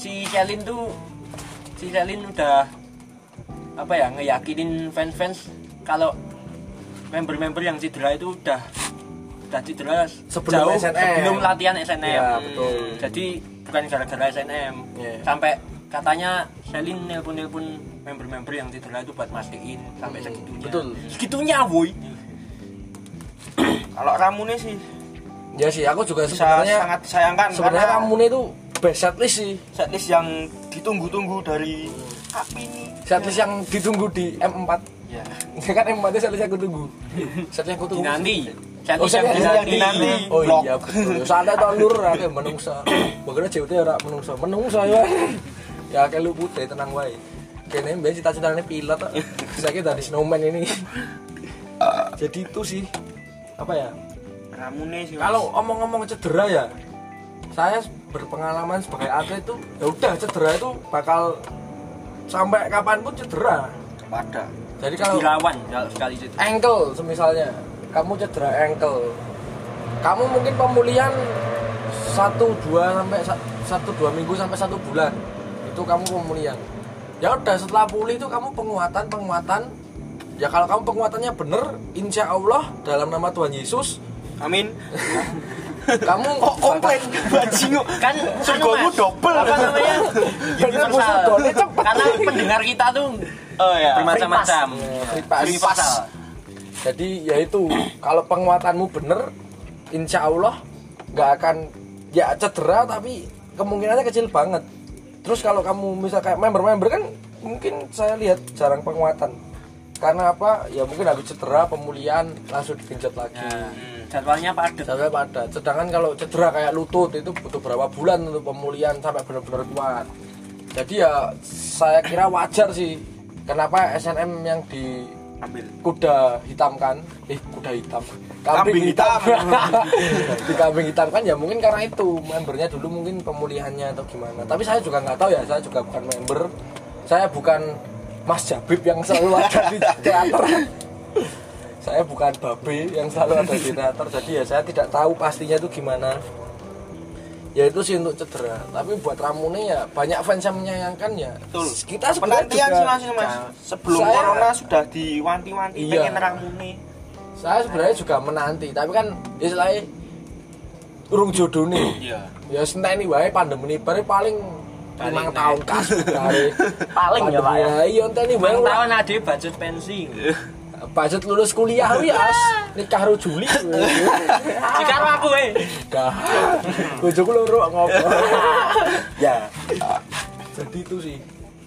S4: si Celin tuh si Celin udah apa ya ngeyakinin fans-fans kalau member-member yang cedera itu udah udah cedera
S1: Sebelum
S4: jauh
S1: SNM.
S4: sebelum latihan SNM
S1: Iya, betul.
S4: Hmm. jadi bukan gara-gara SNM
S1: Iya.
S4: sampai katanya Celin nelpon-nelpon member-member yang cedera itu buat mastiin sampai segitunya
S1: Hmm. betul.
S4: segitunya woi
S2: kalau ramu nih sih
S1: ya sih aku juga
S2: bisa
S1: sebenarnya
S2: sangat disayangkan
S1: sebenarnya
S2: karena
S1: Ramune itu best setlist sih
S2: setlist yang ditunggu-tunggu dari api ini
S1: setlist
S4: Ya.
S1: yang ditunggu di M4
S2: ya
S1: ya kan M4 itu setlist yang aku tunggu setlist yang aku tunggu
S4: dinanti
S1: Oh,
S4: Celin
S1: saya yang
S4: yang dinanti
S1: dinanti. Oh
S2: Blok.
S1: iya betul. Santai to lur ake menungsa. Bagaimana JWT ora menungsa. Menungsa ya. Ya akeh lu putih tenang wae. Kene mbek cita-citane pilot ah. tok. Saiki dari snowman ini. Jadi itu sih apa ya?
S2: ramu nih sih Mas.
S1: Kalau omong-omong cedera ya saya berpengalaman sebagai atlet itu ya udah cedera itu bakal sampai kapanpun cedera.
S2: pada
S1: Jadi kalau
S4: dirawan kalau sekali cedera
S1: ankle semisalnya kamu cedera ankle kamu mungkin pemulihan satu dua sampai sa- satu dua minggu sampai satu bulan itu kamu pemulihan ya udah setelah pulih itu kamu penguatan penguatan ya kalau kamu penguatannya bener insya Allah dalam nama Tuhan Yesus
S2: amin
S1: kamu
S2: kok komplain bajingo
S4: kan
S2: surgamu
S4: anu, Mas,
S2: double.
S4: apa namanya
S1: Bener, Bu,
S4: universal
S1: surganya cepet.
S4: karena pendengar kita tuh
S2: oh ya
S4: bermacam-macam
S1: Ya, free pass.
S4: universal
S1: jadi ya itu kalau penguatanmu bener insya Allah nggak akan ya cedera tapi kemungkinannya kecil banget terus kalau kamu misal kayak member-member kan mungkin saya lihat jarang penguatan karena apa ya mungkin habis cedera pemulihan langsung digenjot lagi
S4: Nah, jadwalnya padat
S1: sampai pada sedangkan kalau cedera kayak lutut itu butuh berapa bulan untuk pemulihan sampai benar-benar kuat jadi ya saya kira wajar sih kenapa SNM yang di
S2: ambil
S1: kuda hitam kan eh kuda hitam kambing,
S2: Kambing
S1: hitam,
S2: hitam.
S1: di kambing hitam kan ya mungkin karena itu membernya dulu mungkin pemulihannya atau gimana tapi saya juga nggak tahu ya saya juga bukan member saya bukan Mas Jabib yang selalu ada di teater saya bukan babe yang selalu ada di teater jadi ya saya tidak tahu pastinya itu gimana ya itu sih untuk cedera tapi buat Ramune ya banyak fans yang menyayangkan ya
S2: Betul.
S1: kita sebenarnya
S2: penantian
S1: juga
S2: sih mas, mas.
S1: Nah,
S2: sebelum
S1: saya-
S2: corona sudah diwanti-wanti
S1: Iya.
S2: pengen ramu nih
S1: saya sebenarnya juga menanti tapi kan istilahnya urung jodoh nih
S2: iya
S1: ya senteni wae pandemi ini bare paling
S4: Paling
S1: limang
S4: naik.
S1: tahun kas bare
S4: Paling ya, Pak, ya?
S1: Pandemi iya enteni wae
S4: Bang
S1: ora.
S4: tahun ade budget pensi
S1: budget lulus kuliah wis as nikah ro Juli
S4: jika aku eh
S1: dah bojoku loro ngobrol ya jadi itu sih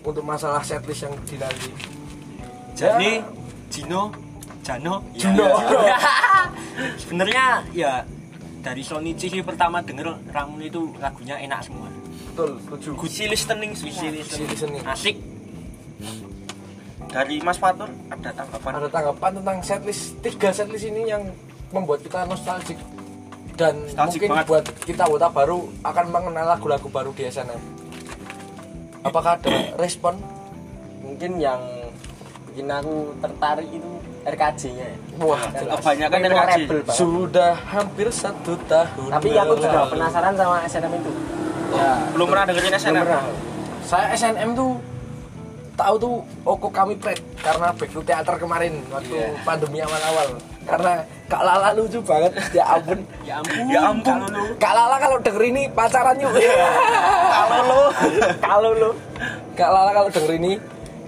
S1: untuk masalah setlist yang dinanti
S4: Iya, jadi Jino Jano ya.
S1: Jino.
S4: sebenarnya ya dari Sonichi sih pertama denger Ramun itu lagunya enak semua
S1: betul setuju
S2: gusi listening semua
S1: Gusi listening.
S4: asik
S2: dari mas Fatur ada tanggapan
S1: ada tanggapan tentang setlist tiga setlist ini yang membuat kita nostalgic dan
S2: Nostalgic
S1: mungkin
S2: banget.
S1: buat kita anggota baru akan mengenal lagu-lagu baru di SNM. Apakah ada respon?
S3: mungkin yang bikin aku tertarik itu RKJ-nya ya.
S1: Wah,
S2: Jelas.
S1: jelas.
S2: Kebanyakan
S3: Memang
S2: RKJ.
S3: rebel banget.
S1: Nah, Sudah hampir satu tahun.
S3: Tapi aku juga
S1: berlalu.
S3: penasaran sama SNM itu. Ya,
S2: Nah, belum pernah dengerin
S3: belum
S2: SNM
S3: pernah.
S1: Saya SNM tuh tahu tuh Oko kami pret karena back to teater kemarin waktu
S2: Iya.
S1: pandemi awal-awal. Karena Kak Lala lucu banget. Ya ampun.
S4: ya ampun
S2: ya ampun
S1: Kak, Kak Lala kalau denger ini pacaran yuk.
S2: Iya. kalau lo
S3: Kalau lu
S1: Kak Lala kalau denger ini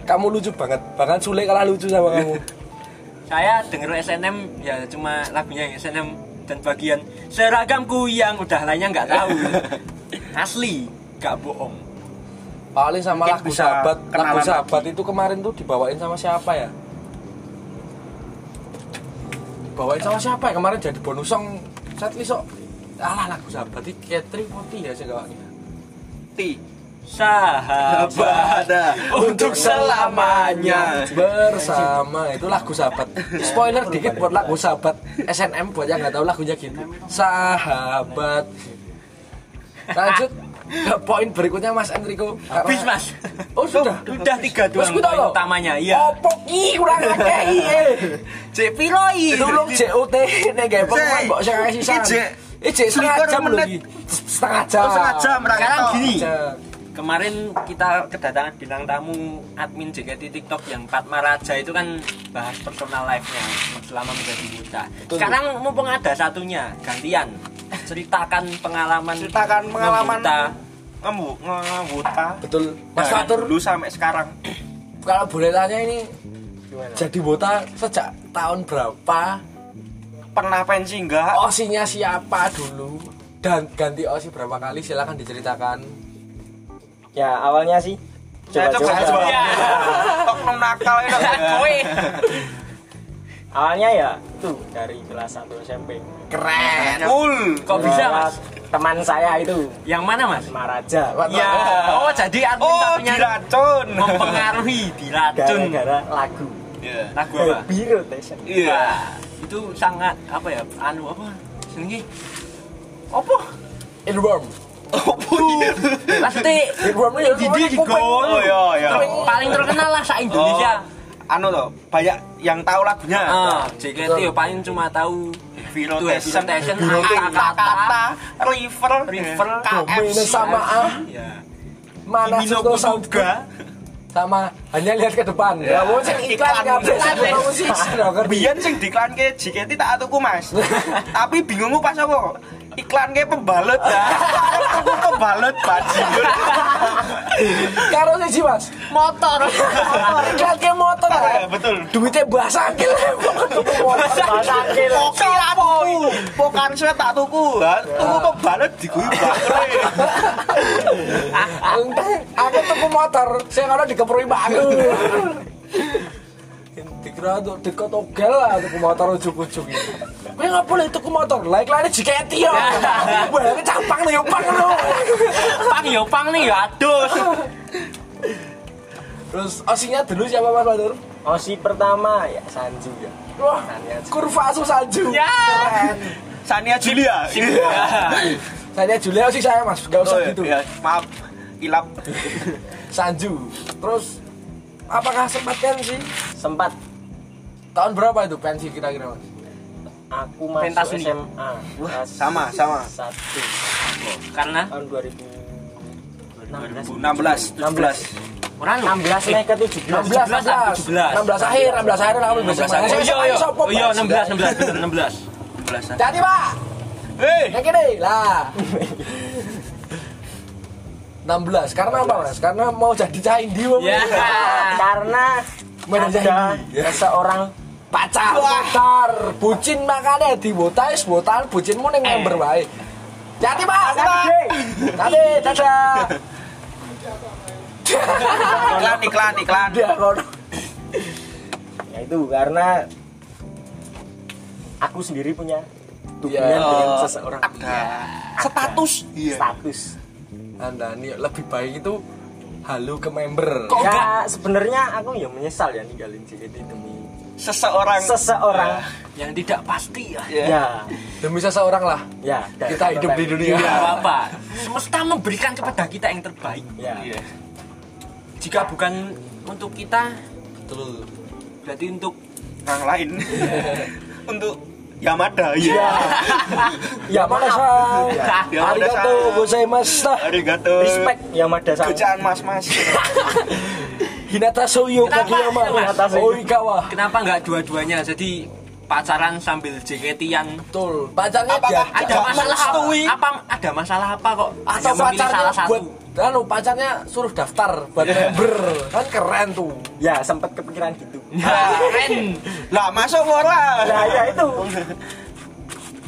S1: kamu lucu banget. Bahkan Sule kalah lucu sama kamu.
S4: saya denger SNM ya cuma lagunya yang SNM dan bagian seragamku yang udah lainnya nggak tahu asli nggak bohong
S1: Paling sama
S2: Mungkin
S1: lagu
S2: bisa
S1: sahabat. Lagu
S2: kenalan
S1: sahabat itu kemarin tuh dibawain sama siapa ya? Dibawain sama siapa ya kemarin jadi bonus song setlist sok. Alah lagu sahabat itu Katri Poti ya saya gawaknya.
S2: ti
S4: sahabat
S2: ada
S1: Untuk selamanya bersama itu lagu sahabat. Spoiler dikit buat lagu sahabat SNM buat yang nggak tahu lagunya gitu. Sahabat. Lanjut ke poin berikutnya Mas Enrico. Karena-
S4: habis mas
S1: Oh sudah.
S4: udah tiga
S1: Terus
S4: doang
S1: kita
S4: poin
S1: loh.
S4: utamanya iya
S1: Opo ki kurang akeh iye.
S2: cek piloi
S1: Tulung JOT nek gawe pemain
S2: Cek.
S1: mbok sing kasih
S2: Iki cek.
S1: Iki cek setengah
S2: Selikur
S1: jam lho
S2: menit. Oh,
S1: iki. Setengah jam.
S4: sekarang gini
S1: Jam.
S4: kemarin kita kedatangan bintang tamu admin JKT TikTok yang Fatma Raja itu kan bahas personal life-nya selama menjadi duta. Sekarang mumpung ada satunya, gantian ceritakan pengalaman
S2: Ceritakan pengalaman.
S4: membuta.
S2: ngembu ngebuta
S1: Betul.
S2: Nah.
S1: Mas Fatur
S2: dulu sampai sekarang
S1: kalau boleh tanya ini
S3: gimana?
S1: jadi bota sejak tahun berapa
S2: pernah pensi enggak
S1: osinya siapa dulu dan ganti osi berapa kali silahkan diceritakan
S3: Ya, awalnya sih
S2: saya coba saya coba
S4: Iya.
S2: tok nom nakal ya? itu
S4: Kowe.
S3: Awalnya ya tuh dari kelas 1 SMP.
S1: keren
S2: cool
S4: Kok bisa,
S3: Lewat
S4: Mas?
S3: Teman saya itu
S4: Yang mana, Mas?
S3: Maraja.
S4: Ya, oh jadi
S2: Iya.
S4: admin
S2: oh
S4: satunya
S2: diracun
S4: mempengaruhi diracun.
S3: Gara-gara lagu. Eh,
S2: Iya.
S4: Lagu apa?
S3: Happy Rotation.
S2: iya
S4: Wah, itu sangat apa ya? Anu apa? Senengi. Apa?
S1: earworm
S2: Iya.
S4: Pasti
S1: earworm itu
S4: Didi di gol.
S2: Oh, iya, iya.
S4: Ter- Paling terkenal lah sa Indonesia.
S2: Oh, anu loh banyak yang tahu lagunya
S4: Ah, JKT ya paling cuma tahu
S2: Virotation,
S4: Virotation,
S2: kata-kata, river,
S4: River,
S2: Iya.
S1: Domino sama A
S4: ya.
S1: mana Suto
S2: Minoko
S1: Sauga
S2: Soga,
S1: sama hanya lihat ke depan ya mau sing iklan
S2: Iklan.
S1: kabeh sing tahu sih sudah ngerti
S2: Biyen sing diklanke JKT tak atuku Mas. Tapi bingungku pas apa? Iklanke pembalut ya. Tuku pembalut bajingan.
S1: karo siji Mas
S4: Motor.
S1: iklan ke motor
S2: Ya, betul.
S1: duitnya bahasa angkil
S3: Sakil.
S2: Poki aku. Pokan saya tak tuku. Ha, Tuku pembalut diguyu bakre.
S1: Entah, aku tuku motor, saya kalau dikeprui aku. Dikira tuh dekat ogel lah tuku motor ujuk-ujuk itu. Gue nggak boleh tuku motor, lah iklannya JKT ya. Wah, ini capang nih, yopang lu.
S4: Pang yo pang nih ya adus.
S1: Terus osinya dulu siapa Mas Badur?
S3: Osi pertama ya Sanji ya.
S1: Wah, kurva asu salju.
S4: Ya.
S1: Keren.
S2: Sania Julia. Iya.
S1: Saya Julia sih saya Mas, gak usah
S2: Oh, iya,
S1: gitu.
S2: iya. Maaf. Ilap.
S1: Sanju. Terus apakah sempat pensi?
S3: Sempat
S1: Tahun berapa itu pensi kira-kira Mas?
S3: aku masuk
S4: Pentas seni.
S3: SMA. kelas
S2: sama, sama.
S3: Satu
S4: Karena
S3: tahun 2000
S2: 16, 17.
S4: orang lu.
S3: 16 naik ke 17
S4: 16,
S1: 16,
S4: 17.
S1: 16 akhir, 16 akhir lah aku bisa.
S4: Oh iya iya. Oh iya 16 16 bener
S2: 16.
S1: Jadi, Pak.
S2: Hei.
S1: Kayak gini lah. 16. Karena apa, Mas? Karena mau jadi cah indi, Mas.
S4: Ya.
S3: karena
S1: Mana
S3: ada
S1: jadi?
S3: seorang
S1: Pacar, pacar, bucin makanya di botais, botal bucinmu ning
S4: Eh.
S1: member wae. Jadi, Pak. Jadi, dadah.
S2: Iklan, iklan, iklan.
S1: Dia kono.
S3: ya itu karena aku sendiri punya hubungan
S1: Iya.
S3: dengan seseorang
S2: Ada Nah, status. Iya.
S3: status
S1: Anda nih lebih baik itu halu ke member.
S4: Kok
S3: ya
S4: enggak?
S3: sebenarnya aku ya menyesal ya ninggalin JKT demi
S2: seseorang
S3: seseorang
S4: yang tidak pasti ya.
S2: ya.
S3: ya
S1: demi seseorang lah
S3: ya dan-
S1: kita hidup di dunia
S4: Tidak Iya, apa-apa. Semesta memberikan kepada kita yang terbaik.
S3: ya
S2: Iya.
S4: Jika bukan untuk kita,
S1: betul
S4: berarti untuk
S2: orang lain Iya. untuk Yamada ya
S3: Yamada san
S2: Ya,
S3: arigato
S2: Yamada-san.
S3: gozaimashita
S2: arigato
S3: respect ya, Yamada san
S2: kerjaan mas-mas
S1: Hinata Soyo
S4: Kenapa?
S1: Kageyama
S4: Hinata
S3: Soyo.
S1: Oikawa
S4: kenapa nggak dua-duanya? Jadi pacaran sambil JKT-an
S1: betul pacarnya
S2: Apakah
S1: diajak
S4: ada
S2: Jangan
S4: masalah apa?
S2: merestui.
S4: apa? Ada masalah apa kok?
S1: atau
S4: Hanya memilih
S1: pacarnya
S4: salah satu.
S1: buat lalu pacarnya suruh daftar buat member kan keren tuh
S3: ya sempat kepikiran gitu
S4: Nah, Keren.
S2: lah masuk ora
S3: nah ya itu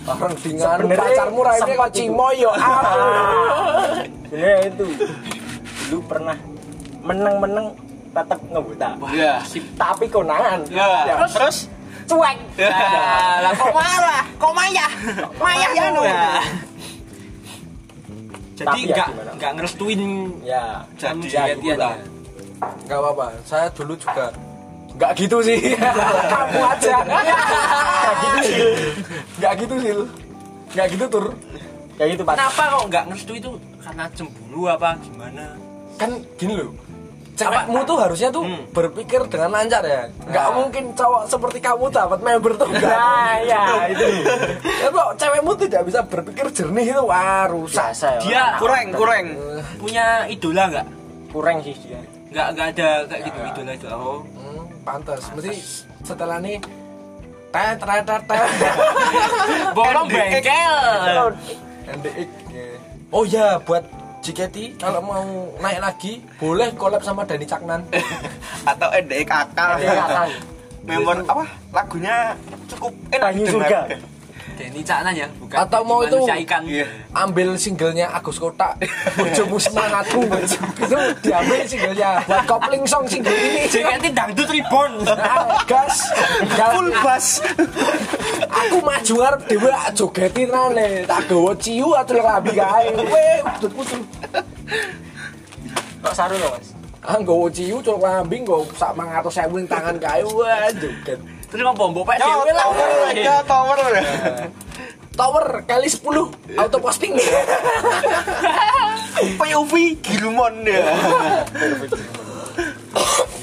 S1: orang dengan
S3: Sebenarnya
S1: pacarmu raine
S3: sempat
S1: kok cimoyo Ah.
S3: ya itu dulu pernah meneng-meneng tetap ngebuta
S2: ya
S3: tapi konangan
S4: Iya.
S2: ya terus
S3: cuek
S4: Nah,
S2: Ya, lah kok marah kok mayah mayah ya nu
S3: Mayah.
S4: iya, nah. Jadi
S3: Tapi ya
S4: nggak
S3: gimana?
S4: nggak ngerestuin
S3: ya
S4: kamu
S2: Jadi,
S4: JKT-an.
S3: gimana?
S1: nggak apa-apa saya dulu juga nggak gitu sih kamu aja nggak gitu sih nggak gitu sih nggak gitu tur
S3: ya itu pas
S4: Kenapa kok nggak ngerestu itu? Karena cemburu apa gimana?
S1: kan gini loh cewekmu tuh harusnya tuh
S4: Hmm.
S1: berpikir dengan lancar ya nggak mungkin cowok seperti kamu dapat member tuh nggak
S3: nah ya itu
S1: ya kok cewekmu tidak bisa berpikir jernih itu wah rusak
S3: biasa ya
S4: Dia
S2: kurang kurang
S1: Eh,
S4: punya idola nggak?
S3: kurang sih dia
S4: Nggak nggak ada kayak gitu idola idola. Oh,
S1: hmm, pantas mesti setelah ini tet tet tet tet
S4: bolong
S2: NDX.
S4: bengkel.
S1: NDX ya. oh ya buat JKT kalau mau naik lagi boleh collab sama Dani Caknan
S2: atau NDX akal
S3: NDX akal.
S2: memon apa lagunya cukup enak
S3: Banyu
S2: didengar.
S3: surga.
S4: Denny Caknan ya, bukan
S1: Atau mau itu-
S4: manusia ikan.
S2: Iya.
S1: ambil singlenya Agus Kotak Bojomu Semangatku itu diambil singlenya buat kopling song single ini
S4: JKT dangdut reborn.
S1: Nah, gas gas
S2: full bass
S1: aku maju arep dhewe tak jogeti rane tak gawa ciu atul rabi kae kowe udut putu
S3: kok saru loh mas
S1: ah gawa ciu cul rambi nggo sak 100.000 ning tangan kae wah joget
S4: Terus ngomong bawa
S2: ya
S4: dewe lah.
S2: tower ya tower
S1: tower kali 10 auto posting
S2: POV Gilmon ya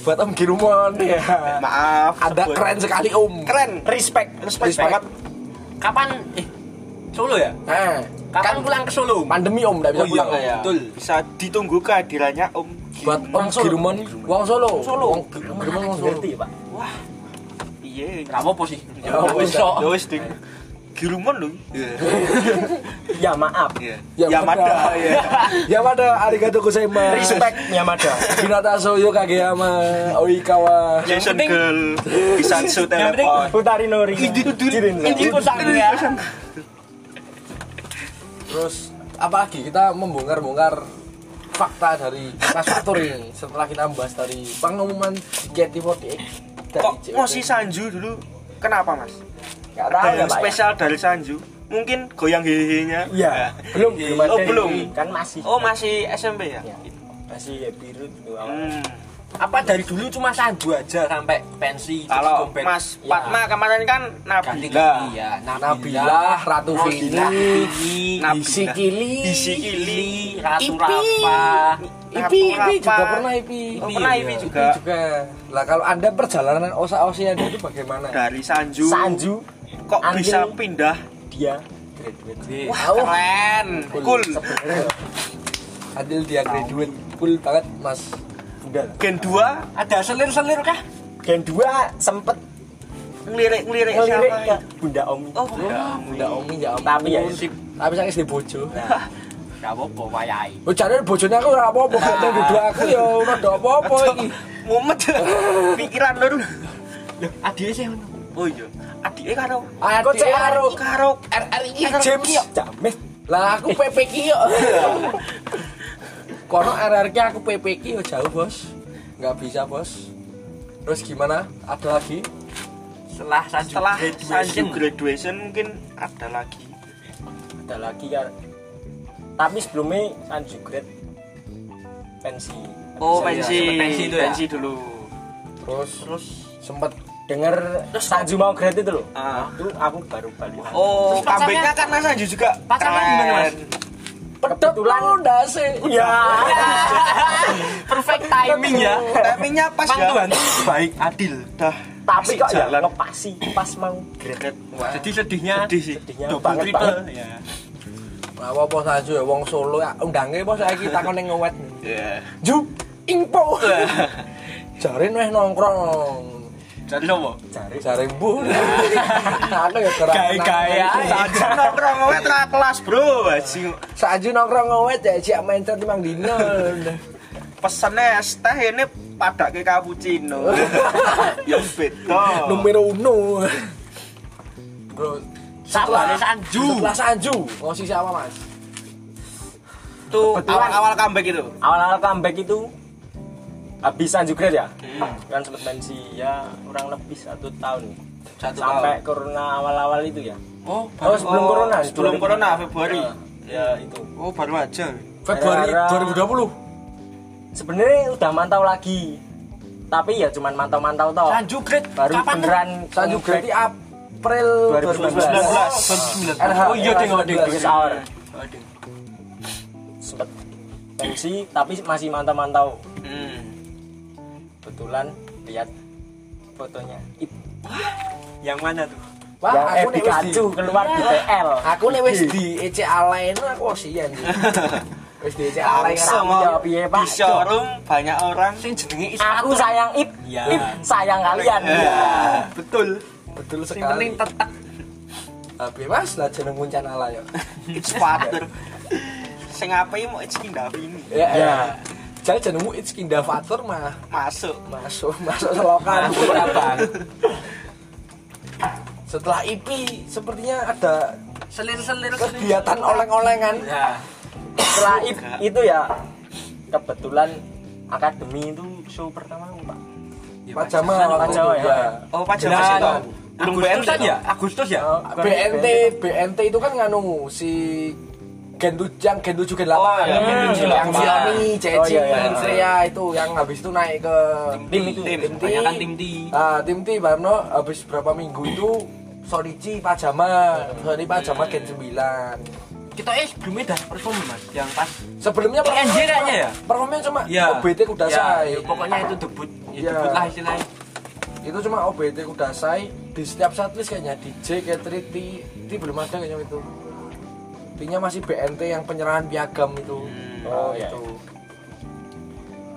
S1: buat Om Girumon ya
S2: maaf
S1: ada
S2: sebut.
S1: keren sekali Om
S2: keren
S3: respect
S2: respect
S1: Respect.
S2: banget
S4: Kapan? Eh, Solo ya?
S1: nah
S4: Kapan pulang ke Solo?
S1: pandemi Om ndak bisa
S4: Oh iya,
S1: pulang
S4: iya.
S1: Betul.
S2: bisa ditunggu kehadirannya Om Gilmon.
S1: buat Om Girumon wong Solo
S2: Solo.
S1: wong Girumon wong Solo
S3: ngerti pak
S2: wah iya
S4: Gak apa-apa sih.
S1: Ya, apa-apa.
S4: Besok.
S2: ya wis ding Gilmon loh
S3: ya maaf
S2: Iya.
S1: Ya,
S2: Yamada
S1: Mada.
S2: ya
S1: ya pada arigato gozaimasu
S3: respect Yamada
S1: Hinata Soyo Kageyama Oikawa
S2: Jason
S4: penting-
S2: Girl Bisansu
S4: Yang penting-
S2: telepon
S3: Utari Nori
S4: Ini
S2: iya.
S4: kusang ya.
S1: Terus apalagi kita membongkar-bongkar fakta dari Mas Fatur ini setelah kita membahas dari pengumuman JKT48 dari
S2: kok
S1: JKT.
S2: mau si Sanju dulu kenapa mas
S1: Nggak tahu
S2: ada
S1: ya, Pak,
S2: yang
S1: ya?
S2: spesial dari Sanju mungkin goyang hehehe-nya
S3: Iya, belum belum ada
S1: Iya.
S2: Oh,
S3: ini.
S2: belum.
S3: kan masih
S2: oh masih SMP ya,
S3: Ya, masih ya, biru gitu awal.
S2: Hmm.
S4: Apa dari dulu cuma sanju aja sampai pensi
S2: kalau
S4: terus dompet.
S2: Mas
S1: Iya.
S4: Ya.
S2: Fatma kemarin kan
S4: ganti
S2: Nabila
S4: ganti ya.
S1: Nabila, Ratu
S4: Nabila,
S1: Vini,
S4: Vini,
S2: Nabila.
S1: Isikili,
S2: Isikili
S4: Vili, Ratu
S2: Ipi.
S4: Rafa.
S1: Ipi,
S2: Ratu
S1: Ipi juga
S2: Rapa.
S1: pernah ya? Ipi.
S2: Oh,
S1: Ipi
S2: pernah
S4: iya.
S2: Ipi juga
S1: juga. Lah kalau Anda perjalanan Osa Osia itu bagaimana?
S2: dari Sanju
S3: Sanju
S2: kok
S3: Angel.
S2: bisa pindah Hmm,
S3: dia graduate
S1: Wah,
S2: keren cool
S3: sebenarnya
S1: Adil dia graduate cool banget Mas.
S3: udah lah.
S2: Gen 2
S4: Ada selir-selir kah?
S3: Gen 2 sempet
S2: ngelirik-ngelirik
S3: ngelirik
S2: siapa
S1: iya.
S3: ke
S2: itu?
S3: Bunda Omi.
S2: Oh, udah.
S1: Bunda Omi ya ampun.
S3: Tapi ya,
S1: sip. Tapi saya di bojo.
S4: Gak apa-apa, wayai.
S1: Oh, jane bojone aku ora apa-apa, gak ada duduk aku ya ora ada apa-apa iki.
S2: mumet pikiran lu
S4: Adiknya sih.
S2: oh iya adiknya karo
S1: Aku cek karo
S2: karo
S1: RRI
S2: RRI.
S1: James.
S3: Jamet
S1: Lah aku PPK yo. Kono RRQ aku PPK yo jauh, Bos. Nggak bisa, Bos. Terus gimana? Ada lagi?
S4: Setelah sanju
S2: setelah
S4: graduation.
S2: Sanju graduation mungkin ada lagi
S3: ada lagi ya. Tapi sebelumnya Sanju grad pensi.
S2: oh pensi
S4: pensi. Pensi itu ya?
S2: pensi dulu
S1: Terus
S2: terus
S1: sempet
S3: denger Sanju mau grade itu loh
S2: Ah.
S3: itu aku baru balik
S2: Oh,
S4: Terus pacarnya-
S2: comeback-nya karena saya juga
S4: Pacarnya
S2: keren.
S4: gimana, Mas?
S1: Pedot lu ndase.
S3: iya
S4: Perfect timing ya.
S2: Oh, Timingnya pas
S4: Mang
S2: ya.
S4: Tuhan.
S2: Baik, adil. Dah. Masih
S3: tapi kok ya
S2: jalan.
S3: ngepasi pas mau grade
S4: Jadi sedihnya
S2: Sedih sih.
S3: Sedihnya
S2: Double
S3: banget,
S2: triple.
S3: banget.
S2: Ya.
S1: Lah apa Sanju ya wong Solo ya, undange apa saiki takon ning ngowet.
S2: Ya.
S4: Iya.
S1: Ju ingpo. Jare wis nongkrong.
S2: Jadi sopo?
S3: jari
S1: Jare mbuh. Aku ya kerana.
S3: Gaya-gaya.
S2: Tadi nongkrong kowe tra kelas, Bro. Anjing.
S1: Sanju nongkrong ngowet ya siap mencer timang dino.
S2: Pesennya es teh ini pada ke cappuccino. ya beda.
S1: Numero uno. Bro,
S4: Sabar Sanju.
S1: setelah Sanju ngosi sama Mas.
S2: Tuh awal-awal comeback itu.
S3: awal-awal comeback itu habis Sanju grade ya kan sempet pensi ya kurang lebih satu tahun
S2: Satu
S3: sampai corona awal-awal itu ya
S2: Oh,
S3: baru- oh,
S2: Sebelum
S3: sebelum
S2: corona
S3: corona,
S2: Februari.
S3: ya itu
S2: Oh, baru aja.
S1: Februari
S3: Era-
S1: 2020.
S3: sebenarnya udah mantau lagi tapi ya cuman mantau-mantau toh
S4: Sanju grade
S3: baru
S4: kapan?
S3: beneran
S1: Sanju
S3: comeback
S1: berarti April
S2: 19.
S3: 2019.
S1: Oh iya tengok
S3: di Office Hour sempet pensi tapi masih mantau-mantau
S2: Hmm.
S3: kebetulan lihat fotonya Ip,
S2: Yang mana tuh?
S1: Wah,
S3: yang eh
S1: aku nih wis di
S3: Pikachu keluar
S4: Iya.
S3: di TL
S1: Aku nih wis di ECA lain aku osian. Wis di ECA lain
S2: Langsung
S3: rame,
S2: oh.
S3: ya, piye, Pak?
S2: di showroom banyak orang.
S4: Sing jenenge
S3: aku sayang Ip
S2: Iya.
S3: Ip sayang kalian
S4: Iya.
S2: Ya, betul.
S1: betul
S4: Sing penting
S1: sekali.
S4: tetep
S1: Tapi Mas lah jeneng kuncan ala ya.
S2: It's father. Sing apa mau it's pindah ini.
S1: Ya.
S3: Ya.
S1: Jadi jenengmu it's kinda fatur mah
S2: Masuk.
S1: masuk masuk selokan. Setelah IP sepertinya ada
S4: selir-selir selir.
S1: kegiatan oleng-olengan.
S4: Ya.
S3: setelah Ip itu ya kebetulan akademi itu show pertama aku, pak
S1: Pak Jamal
S3: Iya, Pak
S1: waktu
S3: Jamal,
S1: itu,
S3: ya.
S1: ya.
S2: Oh, Pak
S1: Nah,
S2: Jamal sih toh. Belum BNT
S4: Agustusan
S2: toh?
S4: ya? Agustus ya?
S3: Oh, bukan
S1: BNT BNT itu kan nganu si Gen 7 yang Gen 7 Gen 8
S2: Oh, iya, Gen
S1: yang,
S2: tujuh,
S1: yang
S2: delapan.
S1: Xiaomi, Ceci,
S3: Oh, iya, iya.
S1: Xperia itu yang habis itu naik ke
S3: tim itu
S2: Tim.
S1: tim T.
S4: Kebanyakan tim T.
S1: Ah, tim T Barno habis berapa minggu itu Sonichi Pajama, Sony Pajama Gen 9.
S4: Kita eh sebelumnya dah perform Mas yang pas.
S1: Sebelumnya
S4: PNJ kayaknya ya? Iya.
S1: Performnya cuma OBT
S4: udah
S1: Kudasai.
S4: pokoknya itu debut. Ya,
S1: Iya.
S4: debut lah istilahnya.
S1: Itu cuma OBT Kudasai di setiap setlist kayaknya DJ K3 T, T belum ada kayaknya itu. T-nya masih BNT yang penyerahan piagam itu.
S3: Oh, iya.
S1: itu.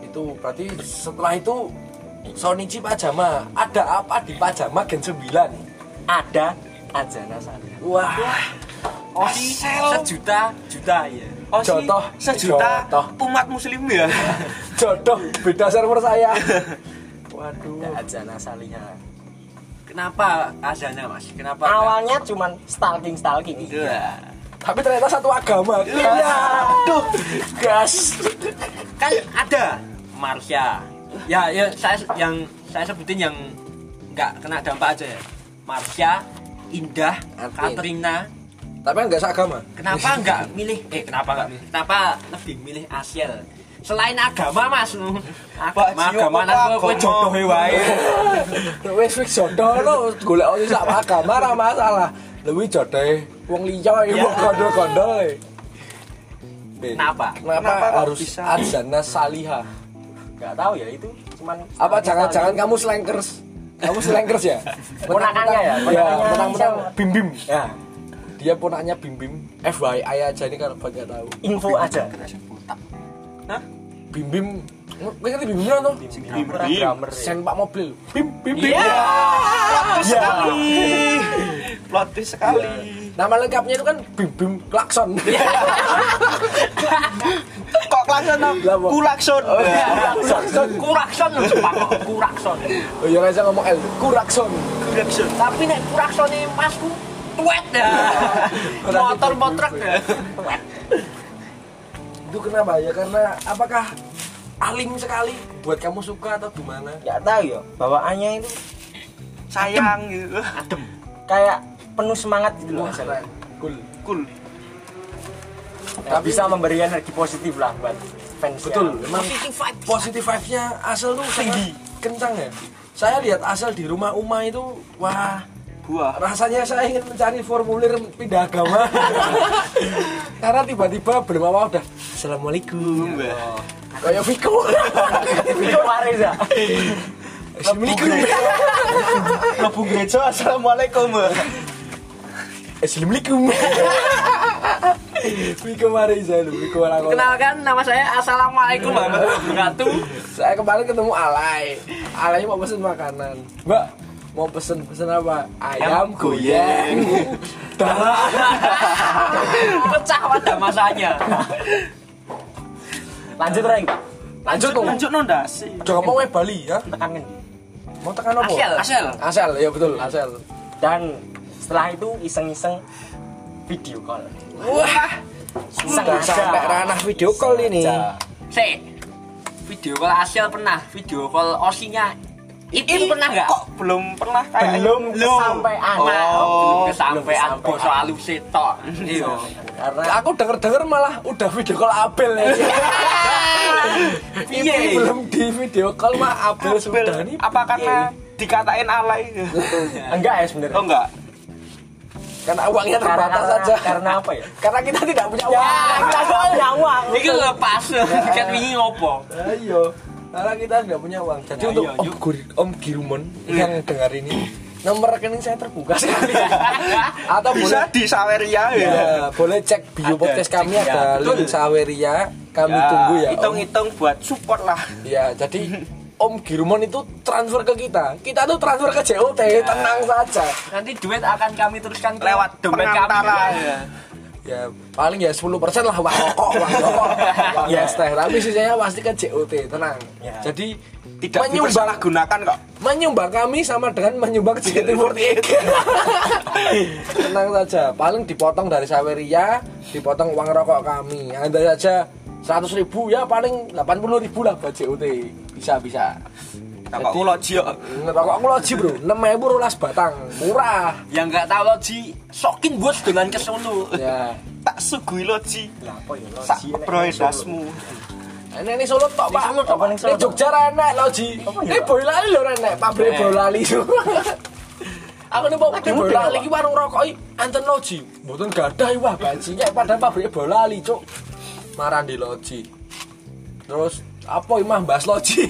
S1: Itu berarti setelah itu Sonichi Pajama, ada apa di Pajama Gen 9?
S3: ada Ajana Sandra
S1: Wah,
S2: Osi
S4: Sejuta juta ya.
S2: Osi
S1: Jotoh.
S2: oh, sejuta
S1: Jotoh.
S2: umat muslim ya.
S1: jodoh beda server saya. Waduh.
S3: ada Ajana Saliha
S4: Kenapa Azana Mas? Kenapa?
S3: awalnya cuman stalking stalking
S2: Iya.
S1: Tapi ternyata satu agama. Iya.
S2: Aduh,
S1: Gas.
S4: kan ada Marsha. Ya, ya saya yang saya sebutin yang nggak kena dampak aja ya. Marsha, Indah,
S1: Arvin.
S4: Katrina.
S1: Tapi enggak seagama.
S4: Kenapa nggak milih? Eh, kenapa nggak milih? Kenapa lebih milih Asiel? Selain agama mas, agama
S2: Pak Cio,
S4: agama
S2: apa
S4: nang kowe
S2: agama?
S4: jodohe wae.
S1: Wis wis jodoh lo golek ono sak agama ora masalah. Luwi jodoh wong liya iki wong
S3: Iya.
S1: kondo-kondo. e. Eh,
S4: Kenapa?
S1: Kenapa
S2: Kenapa kok
S1: harus
S2: bisa?
S1: Adzana Saliha?
S3: nggak tahu ya itu cuman
S1: Apa
S3: stalking-stalking.
S1: jangan-jangan kamu slankers? Kamu slankers ya?
S3: Ponakannya ya?
S1: Iya,
S3: Ponakannya
S1: menang-menang
S3: siapa?
S1: Bim Bim.
S3: ya
S1: Dia ponaknya Bim Bim. FYI aja nih kalau banyak tahu.
S3: info aja
S1: Bim Bim. Gue ngerti Bim Bim kan, toh?
S3: Drummer ya. Iya.
S1: Sen pak mobil. Iya. Bim Bim Bim.
S2: plot twist sekali. Plot twist sekali.
S1: Nama lengkapnya itu kan Bim Bim Klakson.
S3: Iya.
S2: Kok klakson? Om?
S1: Lah, iya. Bang.
S2: Kulakson.
S1: Klakson.
S4: Kurakson lho Jepang kok kurakson.
S1: Oh iya Reza ngomong L, kurakson.
S2: Kulakson.
S4: Tapi nek kuraksone masku tuwet ya. Motor motor ya. Tuwet.
S1: Itu kenapa ya? Karena apakah alim sekali buat kamu suka atau gimana?
S3: nggak tahu ya bawaannya itu
S2: Sayang gitu.
S4: Adem.
S3: kayak penuh semangat gitu loh Ajana.
S1: Cool.
S2: Cool.
S3: Ya,
S1: Tapi-
S3: bisa memberi energi positif lah buat fans Iya.
S1: Betul, memang
S4: Positive vibes.
S1: positif vibes-nya asal tuh sangat kencang ya. saya lihat asal di rumah Uma itu wah
S2: Buah.
S1: rasanya saya ingin mencari formulir pindah agama karena tiba-tiba belum apa udah assalamualaikum kayak Viko Viko Mareza assalamualaikum
S2: Lebu gereja assalamualaikum. Mbak.
S1: assalamualaikum Viko Mareza lu Viko Mareza
S4: Kenalkan nama saya Assalamualaikum warahmatullahi wabarakatuh.
S1: saya kemarin ketemu Alay Alay mau pesen makanan Mbak mau pesen pesen apa ayam goyang dah
S4: Pecah pada masanya. Lanjut Reng.
S1: lanjut dong
S2: Lanjut nondasi.
S1: udah ngomong wae Bali ya
S3: tekan ngendi?
S1: mau tekan apa
S4: Asel. Asel.
S1: Asel ya betul Asel
S3: dan setelah itu iseng-iseng video call
S1: wah sudah
S3: Sengaja.
S1: sampai ranah video call ini
S3: Sengaja.
S4: Se. Video call Asial pernah, video call Osinya Itin pernah nggak?
S2: Kok belum pernah kayak
S3: belum sampai
S4: Pernah.
S3: anak
S4: belum
S2: Oh.
S4: kesampaian
S3: belum kesampaian.
S4: bos alu setok. Iya.
S3: karena
S1: aku denger denger malah udah video call Abel ya Ini
S2: Iya.
S1: belum di video call mah Abel sudah nih
S2: Apa karena dikatain alay?
S3: enggak ya sebenarnya
S2: Oh enggak.
S1: karena uangnya
S3: karena,
S1: terbatas
S3: karena-
S1: saja
S3: karena apa ya
S1: karena kita tidak punya uang
S3: kita punya uang
S4: Nah, Iki lepas tiket wingi ngopo?
S1: Ayo, karena kita nggak punya uang. Jadi untuk
S4: iya,
S1: Om, Gur- Om Girumon yang dengar ini, nomor rekening saya terbuka sekali. Atau boleh
S2: Bisa di Saweria ya.
S1: ya, boleh cek bio
S3: Ada
S1: podcast
S3: cek,
S1: kami
S3: ya,
S1: ada
S3: betul.
S1: link Saweria. Kami tunggu ya. Om.
S2: Hitung-hitung buat support lah.
S1: Ya, jadi Om Girumon itu transfer ke kita. Kita tuh transfer ke JOT, tenang saja.
S4: Nanti duit akan kami teruskan ke
S2: Lewat
S4: dompet kami.
S2: pengantara ya.
S1: Ya, paling ya 10% lah wah rokok, wah rokok. Wah,
S3: Ya.
S1: teh. Tapi sisanya pasti ke JOT, tenang.
S3: Ya.
S1: Jadi
S2: Tidak
S1: menyumbang
S2: dipersalahgunakan kok.
S1: menyumbang kami sama dengan menyumbang JKT48 tenang saja paling dipotong dari saweria dipotong uang rokok kami anda saja 100.000 ribu ya paling 80.000 ribu lah buat JOT bisa bisa
S2: Nah, Kok ulo jio.
S1: rokok aku loji bro 6.000 ribu batang murah
S4: Yang nggak tahu loji, sokin bos dolan ke Solo.
S1: ya
S2: Tak sugui loji.
S3: Lah, apa ya lo
S2: Sak
S3: sih, nek-
S2: broedasmu.
S1: ini ini Eh, solo tok pak
S3: Solo tok, Pak.
S1: ini Jogja renek loji ini boylali Eh, lho renek pabrik boylali aku nih mau di boylali ini warung rokok ini anten loji mboten gadai wah bajinya padahal pabrik boylali cuk marandi loji terus apa imah bahas loji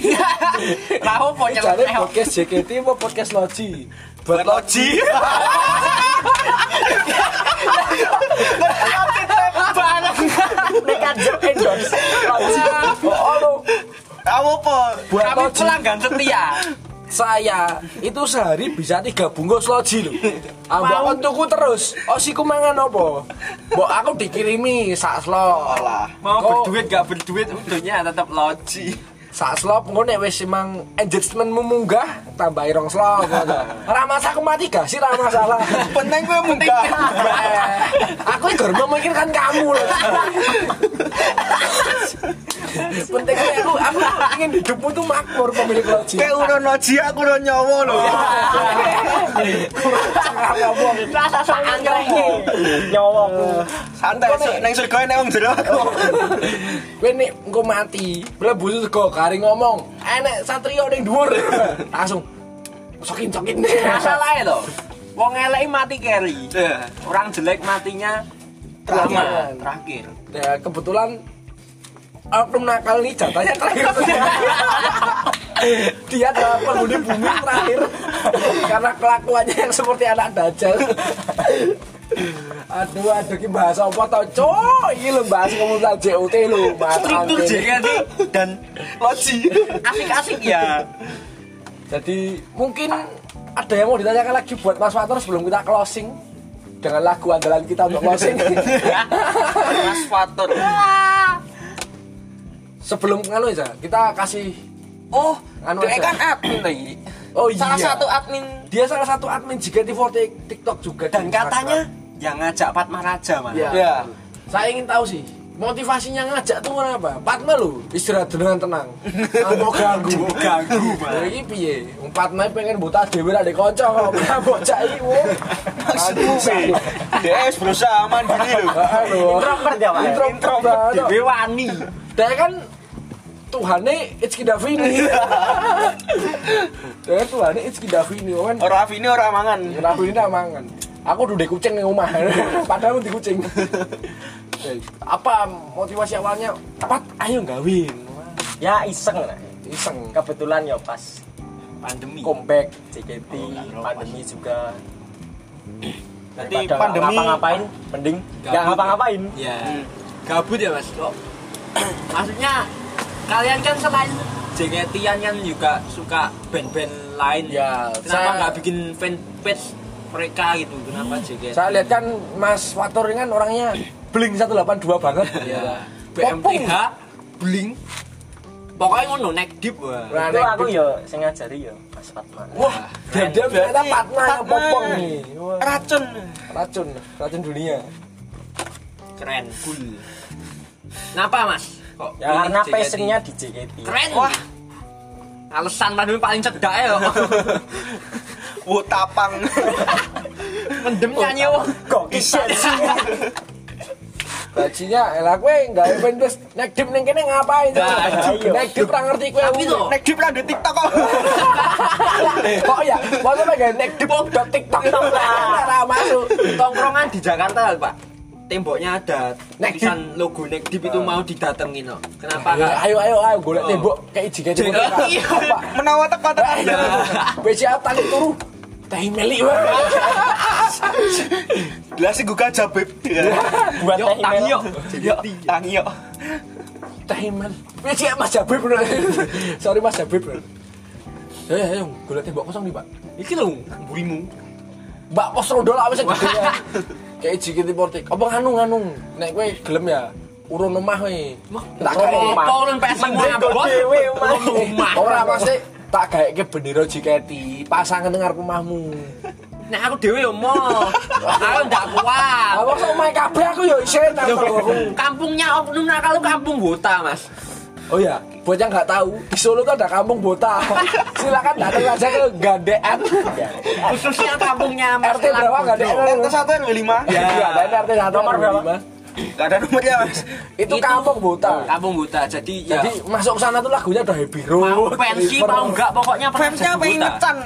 S4: Lah opo
S1: Ini
S4: nyelak
S1: jare
S4: neh.
S1: podcast JKT apa podcast loji buat loji
S2: Loji.
S3: nek aja endorse
S1: oh, oh, lo.
S2: Kamu apa?
S1: buat
S4: Kami
S1: loji
S4: pelanggan setia.
S1: saya itu sehari bisa tiga bungkus loji lho ambak kon tuku terus osiku mangan apa mbok aku dikirimi sak slop
S2: Alah.
S4: Mau
S1: Kok-
S4: berduit gak berduit, untungnya tetap loji.
S1: sak slop engko nek wis emang engagementmu munggah tambahi rong slop ngono ora masalah aku mati gak sih ora masalah
S2: Penting gue munggah.
S1: Eh, aku gor memikirkan kamu loh pentingnya aku aku ingin hidupmu tuh makmur pemilik loji
S2: Kayak udah loji aku udah nyawa loh.
S1: Iya.
S4: Rasa sangat keren.
S3: nyawamu
S2: Santai. su- Neng surga neng om jero aku.
S1: Kowe nek engko mati, mlebu sego kari ngomong, enek satrio ning dhuwur. Langsung sokin-sokin.
S4: Masalahnya loh, wong elek mati carry. Orang jelek matinya
S1: Terakhir.
S4: lama terakhir.
S1: Nah, kebetulan oknum nakal ini jatahnya terakhir. Dia adalah penghuni bumi terakhir karena kelakuannya yang seperti anak dajal. aduh aduh ki bahasa apa tau cok ini lo bahas komunitas JOT lo bahas
S4: Struktur
S1: angin.
S4: jadi nanti
S2: Iya. Dan loji.
S4: asik-asik ya.
S1: Jadi mungkin ada yang mau ditanyakan lagi buat Mas Fatur sebelum kita closing dengan lagu andalan kita untuk closing.
S2: Mas Fatur.
S1: sebelum nganu ya, kita kasih
S2: Oh,
S1: Anu aja.
S2: dia kan admin lagi.
S1: Oh iya.
S2: Salah satu admin
S1: dia salah satu admin JKT48 TikTok juga di
S4: Dan katanya
S1: Instagram.
S4: yang ngajak Fatma Raja mana?
S1: Iya.
S2: Iya.
S1: Saya ingin tahu sih motivasinya ngajak tuh kenapa? Patma lu istirahat dengan tenang. Ambo ganggu.
S4: Ganggu
S1: Lah
S4: banget.
S1: iki piye? Wong Patma pengen buta dhewe ra ndek kanca kok ora bocah iki. wong.
S2: maksudku sih. Dia harus berusaha mandiri loh.
S1: Aduh.
S3: introvert ya pak
S1: Introvert
S3: introvert
S1: banget.
S3: dewe wani
S1: Dia kan Tuhane Itski Davini. ya Tuhane Itski Davini, kan.
S2: Orang Afi ini orang mangan.
S1: Kenapa ini tak mangan? Aku udah kucing di rumah, padahal di kucing. Eh, Apa motivasi awalnya? Pat, ayo gawin. Wah,
S3: ya iseng lah
S1: Iseng,
S3: kebetulan ya pas
S4: pandemi
S3: Iya. comeback JKT pandemi juga
S4: Berarti
S3: Daripada
S2: pandemi-
S3: ngapa-ngapain mending nggak ngapa-ngapain
S4: ya gabut ya mas kok maksudnya kalian kan selain JKT-an kan juga suka band-band lain
S1: Ya,
S4: kenapa
S1: saya-
S4: nggak bikin fanpage mereka gitu kenapa JKT
S1: Saya lihat kan Mas Fatur ini kan orangnya bling 182 banget.
S3: Iya.
S4: ya
S1: Popung.
S4: BMTH Bling pokoknya ngono neck deep wah
S1: Nah,
S3: itu
S1: nek-
S3: aku ya Nah, saya ngajari ya Mas Fatman
S1: Wah, dadam ternyata Patma yang
S2: Patma.
S1: popong nih. Wah,
S2: Racun.
S1: Racun, racun dunia.
S4: keren cool kenapa mas kok
S3: ya
S4: pilih
S3: karena
S4: JKT?
S3: passionnya di JKT
S4: keren
S2: Wah.
S4: alasan pandemi paling cedak ya kok.
S2: Wo tapang.
S4: mendem nyanyi wong
S3: kok bisa sih
S1: Bajinya, elah kowe enggak event wis nek dip ning kene ngapain?
S4: Nah,
S3: iya.
S1: Nek dip ra ngerti kowe.
S4: tapi tuh
S2: Nek di ada TikTok kok.
S1: Kok ya? Masa pengen nek dip dot TikTok ra masuk.
S4: tongkrongan di Jakarta pak temboknya ada
S1: Nek
S4: tulisan logo Nek Deep
S3: Ah.
S4: itu mau didatengin no. kenapa
S1: Ya,
S3: Iya.
S4: nggak
S1: Ayo ayo ayo golek tembok kayak jika
S4: Iya. Oh. Jika- iya. Nah.
S1: Pak. eh,
S2: Menawa teko
S1: Ayo.
S2: tekan.
S1: BCA tadi turu. Teh meli wae.
S2: Lah sing gugah jabib.
S1: Buat
S4: yuk
S1: teh
S4: tangi
S1: meli.
S4: yuk
S2: Yo
S4: Iya.
S2: tangi yo.
S1: Teh meli. BCA Mas Jabib bener. Sorry Mas Jabib. bener. Ayo ayo golek tembok kosong nih, Pak.
S4: iki lho burimu
S1: Mbak pos rondo lah wis gede ya. Kayak JKT48. Apa nganu nganu. Nek kowe gelem ya urun omah kowe. Tak gawe
S4: Apa orang PSM mau
S3: Mending go
S4: abot?
S3: dewe, Mas.
S4: Omah.
S1: Ora mesti tak gaeke bendera JKT, pasangan dengar rumahmu.
S4: Nek aku dewe yo mo. Aku ndak kuat.
S1: Apa kok omahe kabeh aku ya isin aku.
S4: Kampungnya Oknum Nakal lu kampung Bota, Mas.
S1: Oh ya, buat yang nggak tahu, di Solo tuh ada kampung Bota. Silakan datang aja ke Gandean.
S4: Ya. Khususnya kampungnya Mas
S1: RT berapa
S4: Lagodo.
S1: Gandean?
S2: Nek satu yang lima.
S1: Ya, Gandean RT satu
S3: Nomor
S1: RW
S3: berapa?
S1: lima.
S2: Gak ada nomornya Mas.
S1: Itu kampung Bota.
S4: Kampung Bota. Jadi ya
S1: Jadi masuk sana tuh lagunya udah happy road.
S4: mau pensi
S1: River.
S4: mau enggak pokoknya pernah
S2: Fansnya
S4: jadi
S2: pengen
S4: Bota.
S2: ngecan.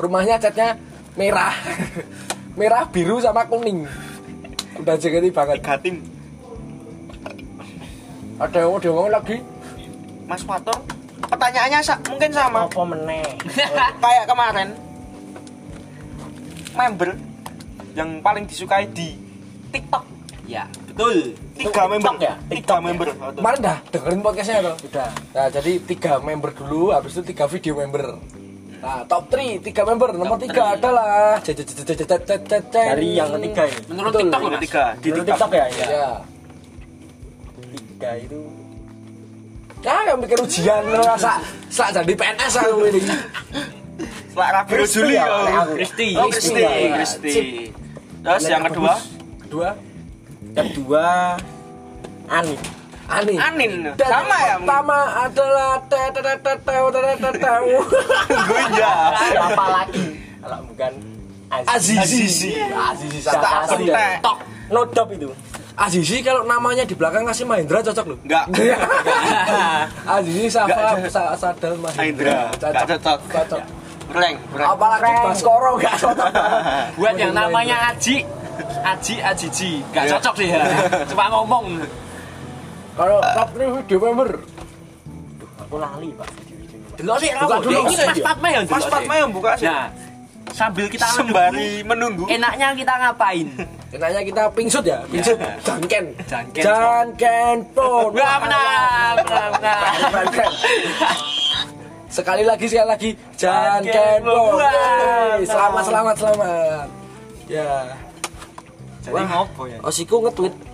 S1: Rumahnya catnya merah. merah, biru sama kuning. Udah JKT banget.
S2: Gatim.
S1: Ada yang mau diomongin lagi?
S2: Mas Fatur, pertanyaannya sa- mungkin sama
S3: apa meneh
S2: kayak kemarin. Member yang paling disukai di TikTok.
S4: Ya, betul.
S2: Tiga member
S3: ya?
S2: Tiga member. Fatur.
S1: Kemarin dah dengerin podcastnya tuh. Udah. Nah, jadi tiga member dulu, habis itu tiga video member. Nah, top 3, tiga member. Nomor tiga adalah Cet, cet, cet, cet, cet, cet, cet, cet.
S3: dari yang ketiga ini
S4: Menurut
S1: Betul.
S4: TikTok loh,
S2: Nomor
S4: Mas.
S2: tiga di
S3: Dulu
S2: TikTok.
S3: TikTok ya ya
S1: Ya.
S3: tiga itu
S1: Ah, yang bikin ujian rasa sak jadi PNS aku ini.
S2: Selak Rabi Juli.
S3: ya, oleh
S2: Oh,
S3: aku.
S4: Kristi.
S2: Oh, Kristi,
S1: Kristi.
S2: Kristi. Terus yang kedua,
S1: Kedua,
S3: kedua Ani
S1: Ani.
S2: Anin.
S1: Dan
S2: Sama ya.
S1: yang pertama adalah te te te te te te te te te
S2: Gue ya.
S3: siapa lagi kalau bukan Aziz
S1: Azizi. Azizi
S3: Tak
S1: sama
S3: sentek.
S1: Azizi.
S4: TikTok.
S3: nodop itu
S1: Azizi kalau namanya di belakang kasih Mahendra cocok loh.
S2: Enggak.
S1: Azizi Safa Sa- Sadal Mahendra.
S2: Mahendra. Nggak cocok.
S1: Cocok.
S2: Reng, reng.
S1: Apalagi Baskoro enggak cocok.
S4: Buat yang
S1: Mahendra.
S4: namanya Aji, Aji Ajiji, nggak
S2: Iya.
S4: cocok sih ya. Cuma ngomong.
S1: Kalau top 3 video member.
S3: Duh, aku lali pak
S4: Delok sih
S1: Buka
S4: rawo.
S1: dulu,
S4: Ini
S1: Mas.
S4: Mas Fatma ya.
S2: Mas Fatma yang buka sih.
S4: Nah, sambil kita menunggu,
S2: Sembari menunggu.
S4: enaknya kita ngapain?
S1: Enaknya kita pingsut ya, pingsut. Jangken.
S4: Jangken.
S1: Jangken pun.
S4: Wah, menang, menang, menang.
S1: Jangken. Sekali lagi sekali lagi Jangken
S4: Jangken
S1: pun.
S4: pun.
S1: Yeay, Selamat selamat selamat. Ya.
S2: Jadi ngopo ya?
S1: Osiku nge-tweet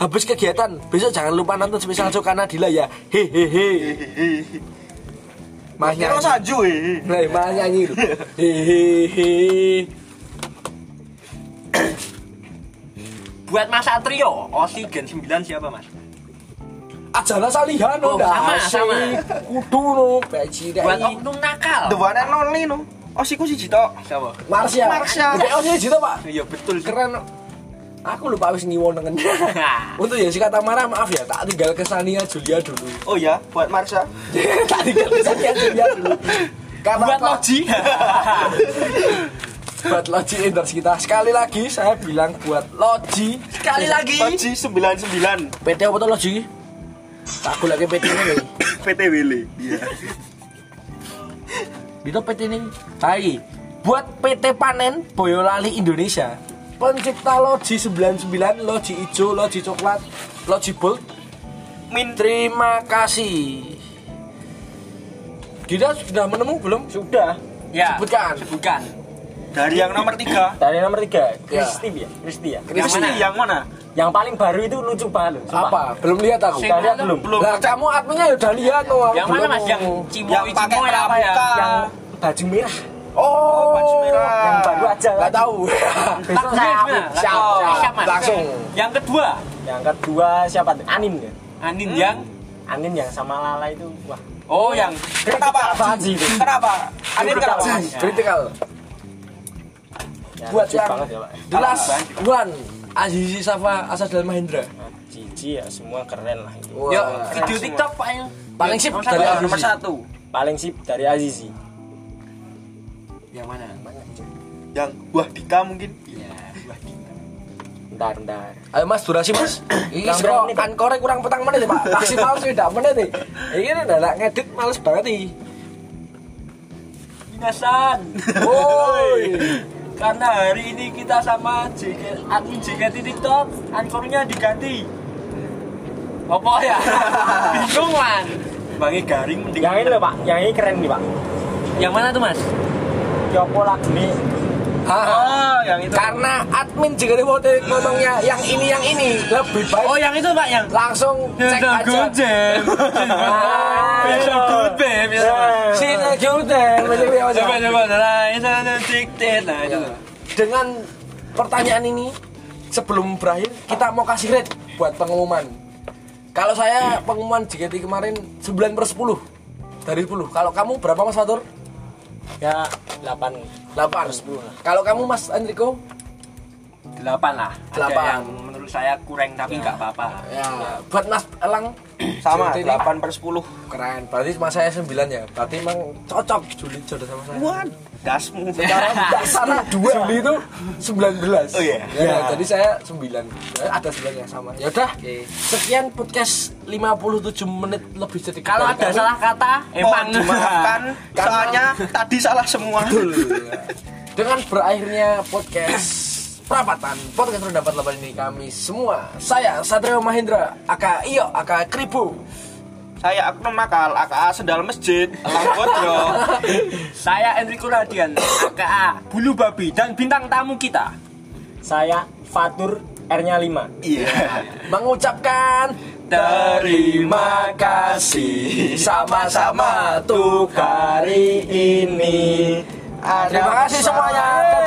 S1: habis kegiatan besok jangan lupa nonton spesial Sokana Dila ya hehehe mas
S2: Kira
S1: nyanyi
S2: saju eh.
S1: nah, mas nyanyi lho. hehehe
S4: Buat Mas Satrio, Osi Gen 9 siapa Mas?
S1: ajana salihan
S4: Oh,
S1: udah
S4: sama, sama.
S1: kudu no beci
S4: Buat
S1: dai
S4: Oknum Nakal.
S2: The one and only no. Oh siku sih Cito.
S4: Siapa?
S1: Marsha
S2: Marsha.
S1: Udah, oh, iya, gitu pak
S4: Iya betul.
S1: keren no. Aku lupa wis nyiwon dengan
S4: Nah,
S1: Untuk ya si kata marah maaf ya tak tinggal ke Sania Julia dulu.
S2: Oh ya, buat Marsha.
S1: tak tinggal ke Sania Julia dulu. Karena
S2: Buat
S1: apa?
S2: Loji.
S1: buat Loji endorse kita. Sekali lagi saya bilang buat Loji. Sekali lagi.
S2: Loji 99
S1: PT apa tuh Loji? Tak aku lagi PT ini. Wei.
S2: PT Willy. Iya.
S1: Itu PT Gitu ini. Hai. Buat PT Panen Boyolali Indonesia. Pencipta Loji 99, Loji hijau, Loji coklat, Loji bold.
S2: Min
S1: Terima kasih. Kita sudah menemu belum?
S3: Sudah.
S4: Ya.
S1: Sebutkan.
S4: Sebutkan.
S2: dari yang nomor 3.
S3: Dari nomor tiga,
S1: Ya.
S3: Kristi ya. Kristi ya.
S2: Yang
S1: Kristi.
S2: mana? Yang mana?
S3: Yang paling baru itu lucu banget. loh, sumpah.
S1: Apa? Belum lihat aku.
S3: Sudah lihat belum?
S2: Belum.
S1: Lah kamu adminnya ya udah lihat no. aku
S4: Yang mana
S1: belum.
S4: Mas? Yang cimo
S2: Yang pakai
S4: cimo ya apa ya?
S2: pramuka.
S4: Yang
S3: Baju merah.
S1: Oh,
S2: baju merah.
S3: Yang baru aja.
S1: Enggak tahu.
S4: Tak
S3: Besok
S4: siap,
S3: siapa?
S4: Mas.
S1: Siap,
S4: Oh,
S1: siap.
S4: Mas.
S1: Langsung.
S4: Yang kedua,
S3: Yang kedua siapa tuh? Anin ya.
S4: Anin
S2: Hmm.
S4: yang
S3: Anin yang sama Lala itu wah.
S4: Oh, yang
S2: Kenapa?
S3: Apaan sih itu?
S2: Kenapa? Anin
S3: Kenapa?
S2: kenapa?
S3: Jis.
S1: Critical.
S3: Ya,
S1: Buat
S3: lucu
S1: yang
S3: banget ya, Pak.
S1: The Last One. Azizi Safa Asad dan Mahendra.
S3: Nah, Cici ya semua keren lah itu.
S1: Wah.
S4: Yo,
S2: Keren
S4: video
S2: semua.
S4: TikTok Pak yang
S1: Paling sip
S4: Nomor
S1: dari
S4: satu.
S1: Azizi.
S2: Nomor 1.
S3: Paling sip dari Azizi.
S4: Yang mana?
S2: Yang wah Dika mungkin.
S3: Ntar ntar.
S1: Ayo Mas durasi Mas. Iki sing
S3: Kurang berapa menit, Pak?
S1: ankore kurang petang menit ya, Pak. Maksimal sudah menit nih. Iki nek ndak ngedit males banget iki.
S4: Minasan.
S1: Woi.
S4: Karena hari ini kita sama JK, admin JKT TikTok, anchornya diganti. Apa ya? Bingung man.
S2: Bangi garing mending.
S3: Yang ini loh pak, yang ini keren nih pak. Ya
S4: Yang mana tuh Mas?
S3: Yopo lagu ini
S1: Ah.
S2: Oh, yang itu.
S1: Karena admin juga nih mau tadi ngomongnya yang ini yang ini lebih baik
S4: Oh, yang itu Pak yang
S1: langsung cek aja.
S4: Ah.
S1: Sini Jordan, masih punya Mas.
S4: Coba coba nah, itu ada diktit nah itu.
S1: Dengan pertanyaan ini sebelum berakhir kita mau kasih rate buat pengumuman. Kalau saya pengumuman JKT kemarin 9 per 10 dari 10. Kalau kamu berapa Mas Fatur?
S3: ya delapan.
S1: 8. Kalau kamu Mas Enrico?
S4: Delapan lah.
S1: Delapan.
S4: Ada yang menurut saya kurang tapi nggak apa-apa.
S1: Ya, buat Mas Elang
S2: Sama
S1: JKT ini
S2: 8 per 10.
S1: Keren. Berarti Mas saya 9 ya. Berarti emang cocok Juli jodoh sama saya.
S2: Wah, dasmu.
S1: Sekarang dasarnya dua Juli itu 19
S2: Oh, iya?
S1: Ya, Jadi saya 9 Ya, Ada 9 yang sama Ya udah Sekian podcast 57 menit lebih sedikit
S4: Kalau
S1: dari
S4: ada
S1: kami.
S4: salah kata,
S2: Mohon
S4: emang
S2: dimaafkan
S1: Karena-
S2: soalnya tadi salah semua.
S1: Betul. Dengan berakhirnya podcast Perapatan Podcast Rendapat Lebar ini kami semua Saya Satrio Mahendra Aka Iyo Aka Kribu
S2: Saya Aknum Makal, AKA Sendal Masjid, Lang Bodro.
S4: Saya Enrico Radian, AKA Bulu Babi dan bintang tamu kita.
S3: Saya Fatur R-nya 5
S2: Iya.
S1: Mengucapkan
S2: Terima kasih
S1: Sama-sama tuh
S3: hari ini
S1: Terima kasih semuanya. Dadah.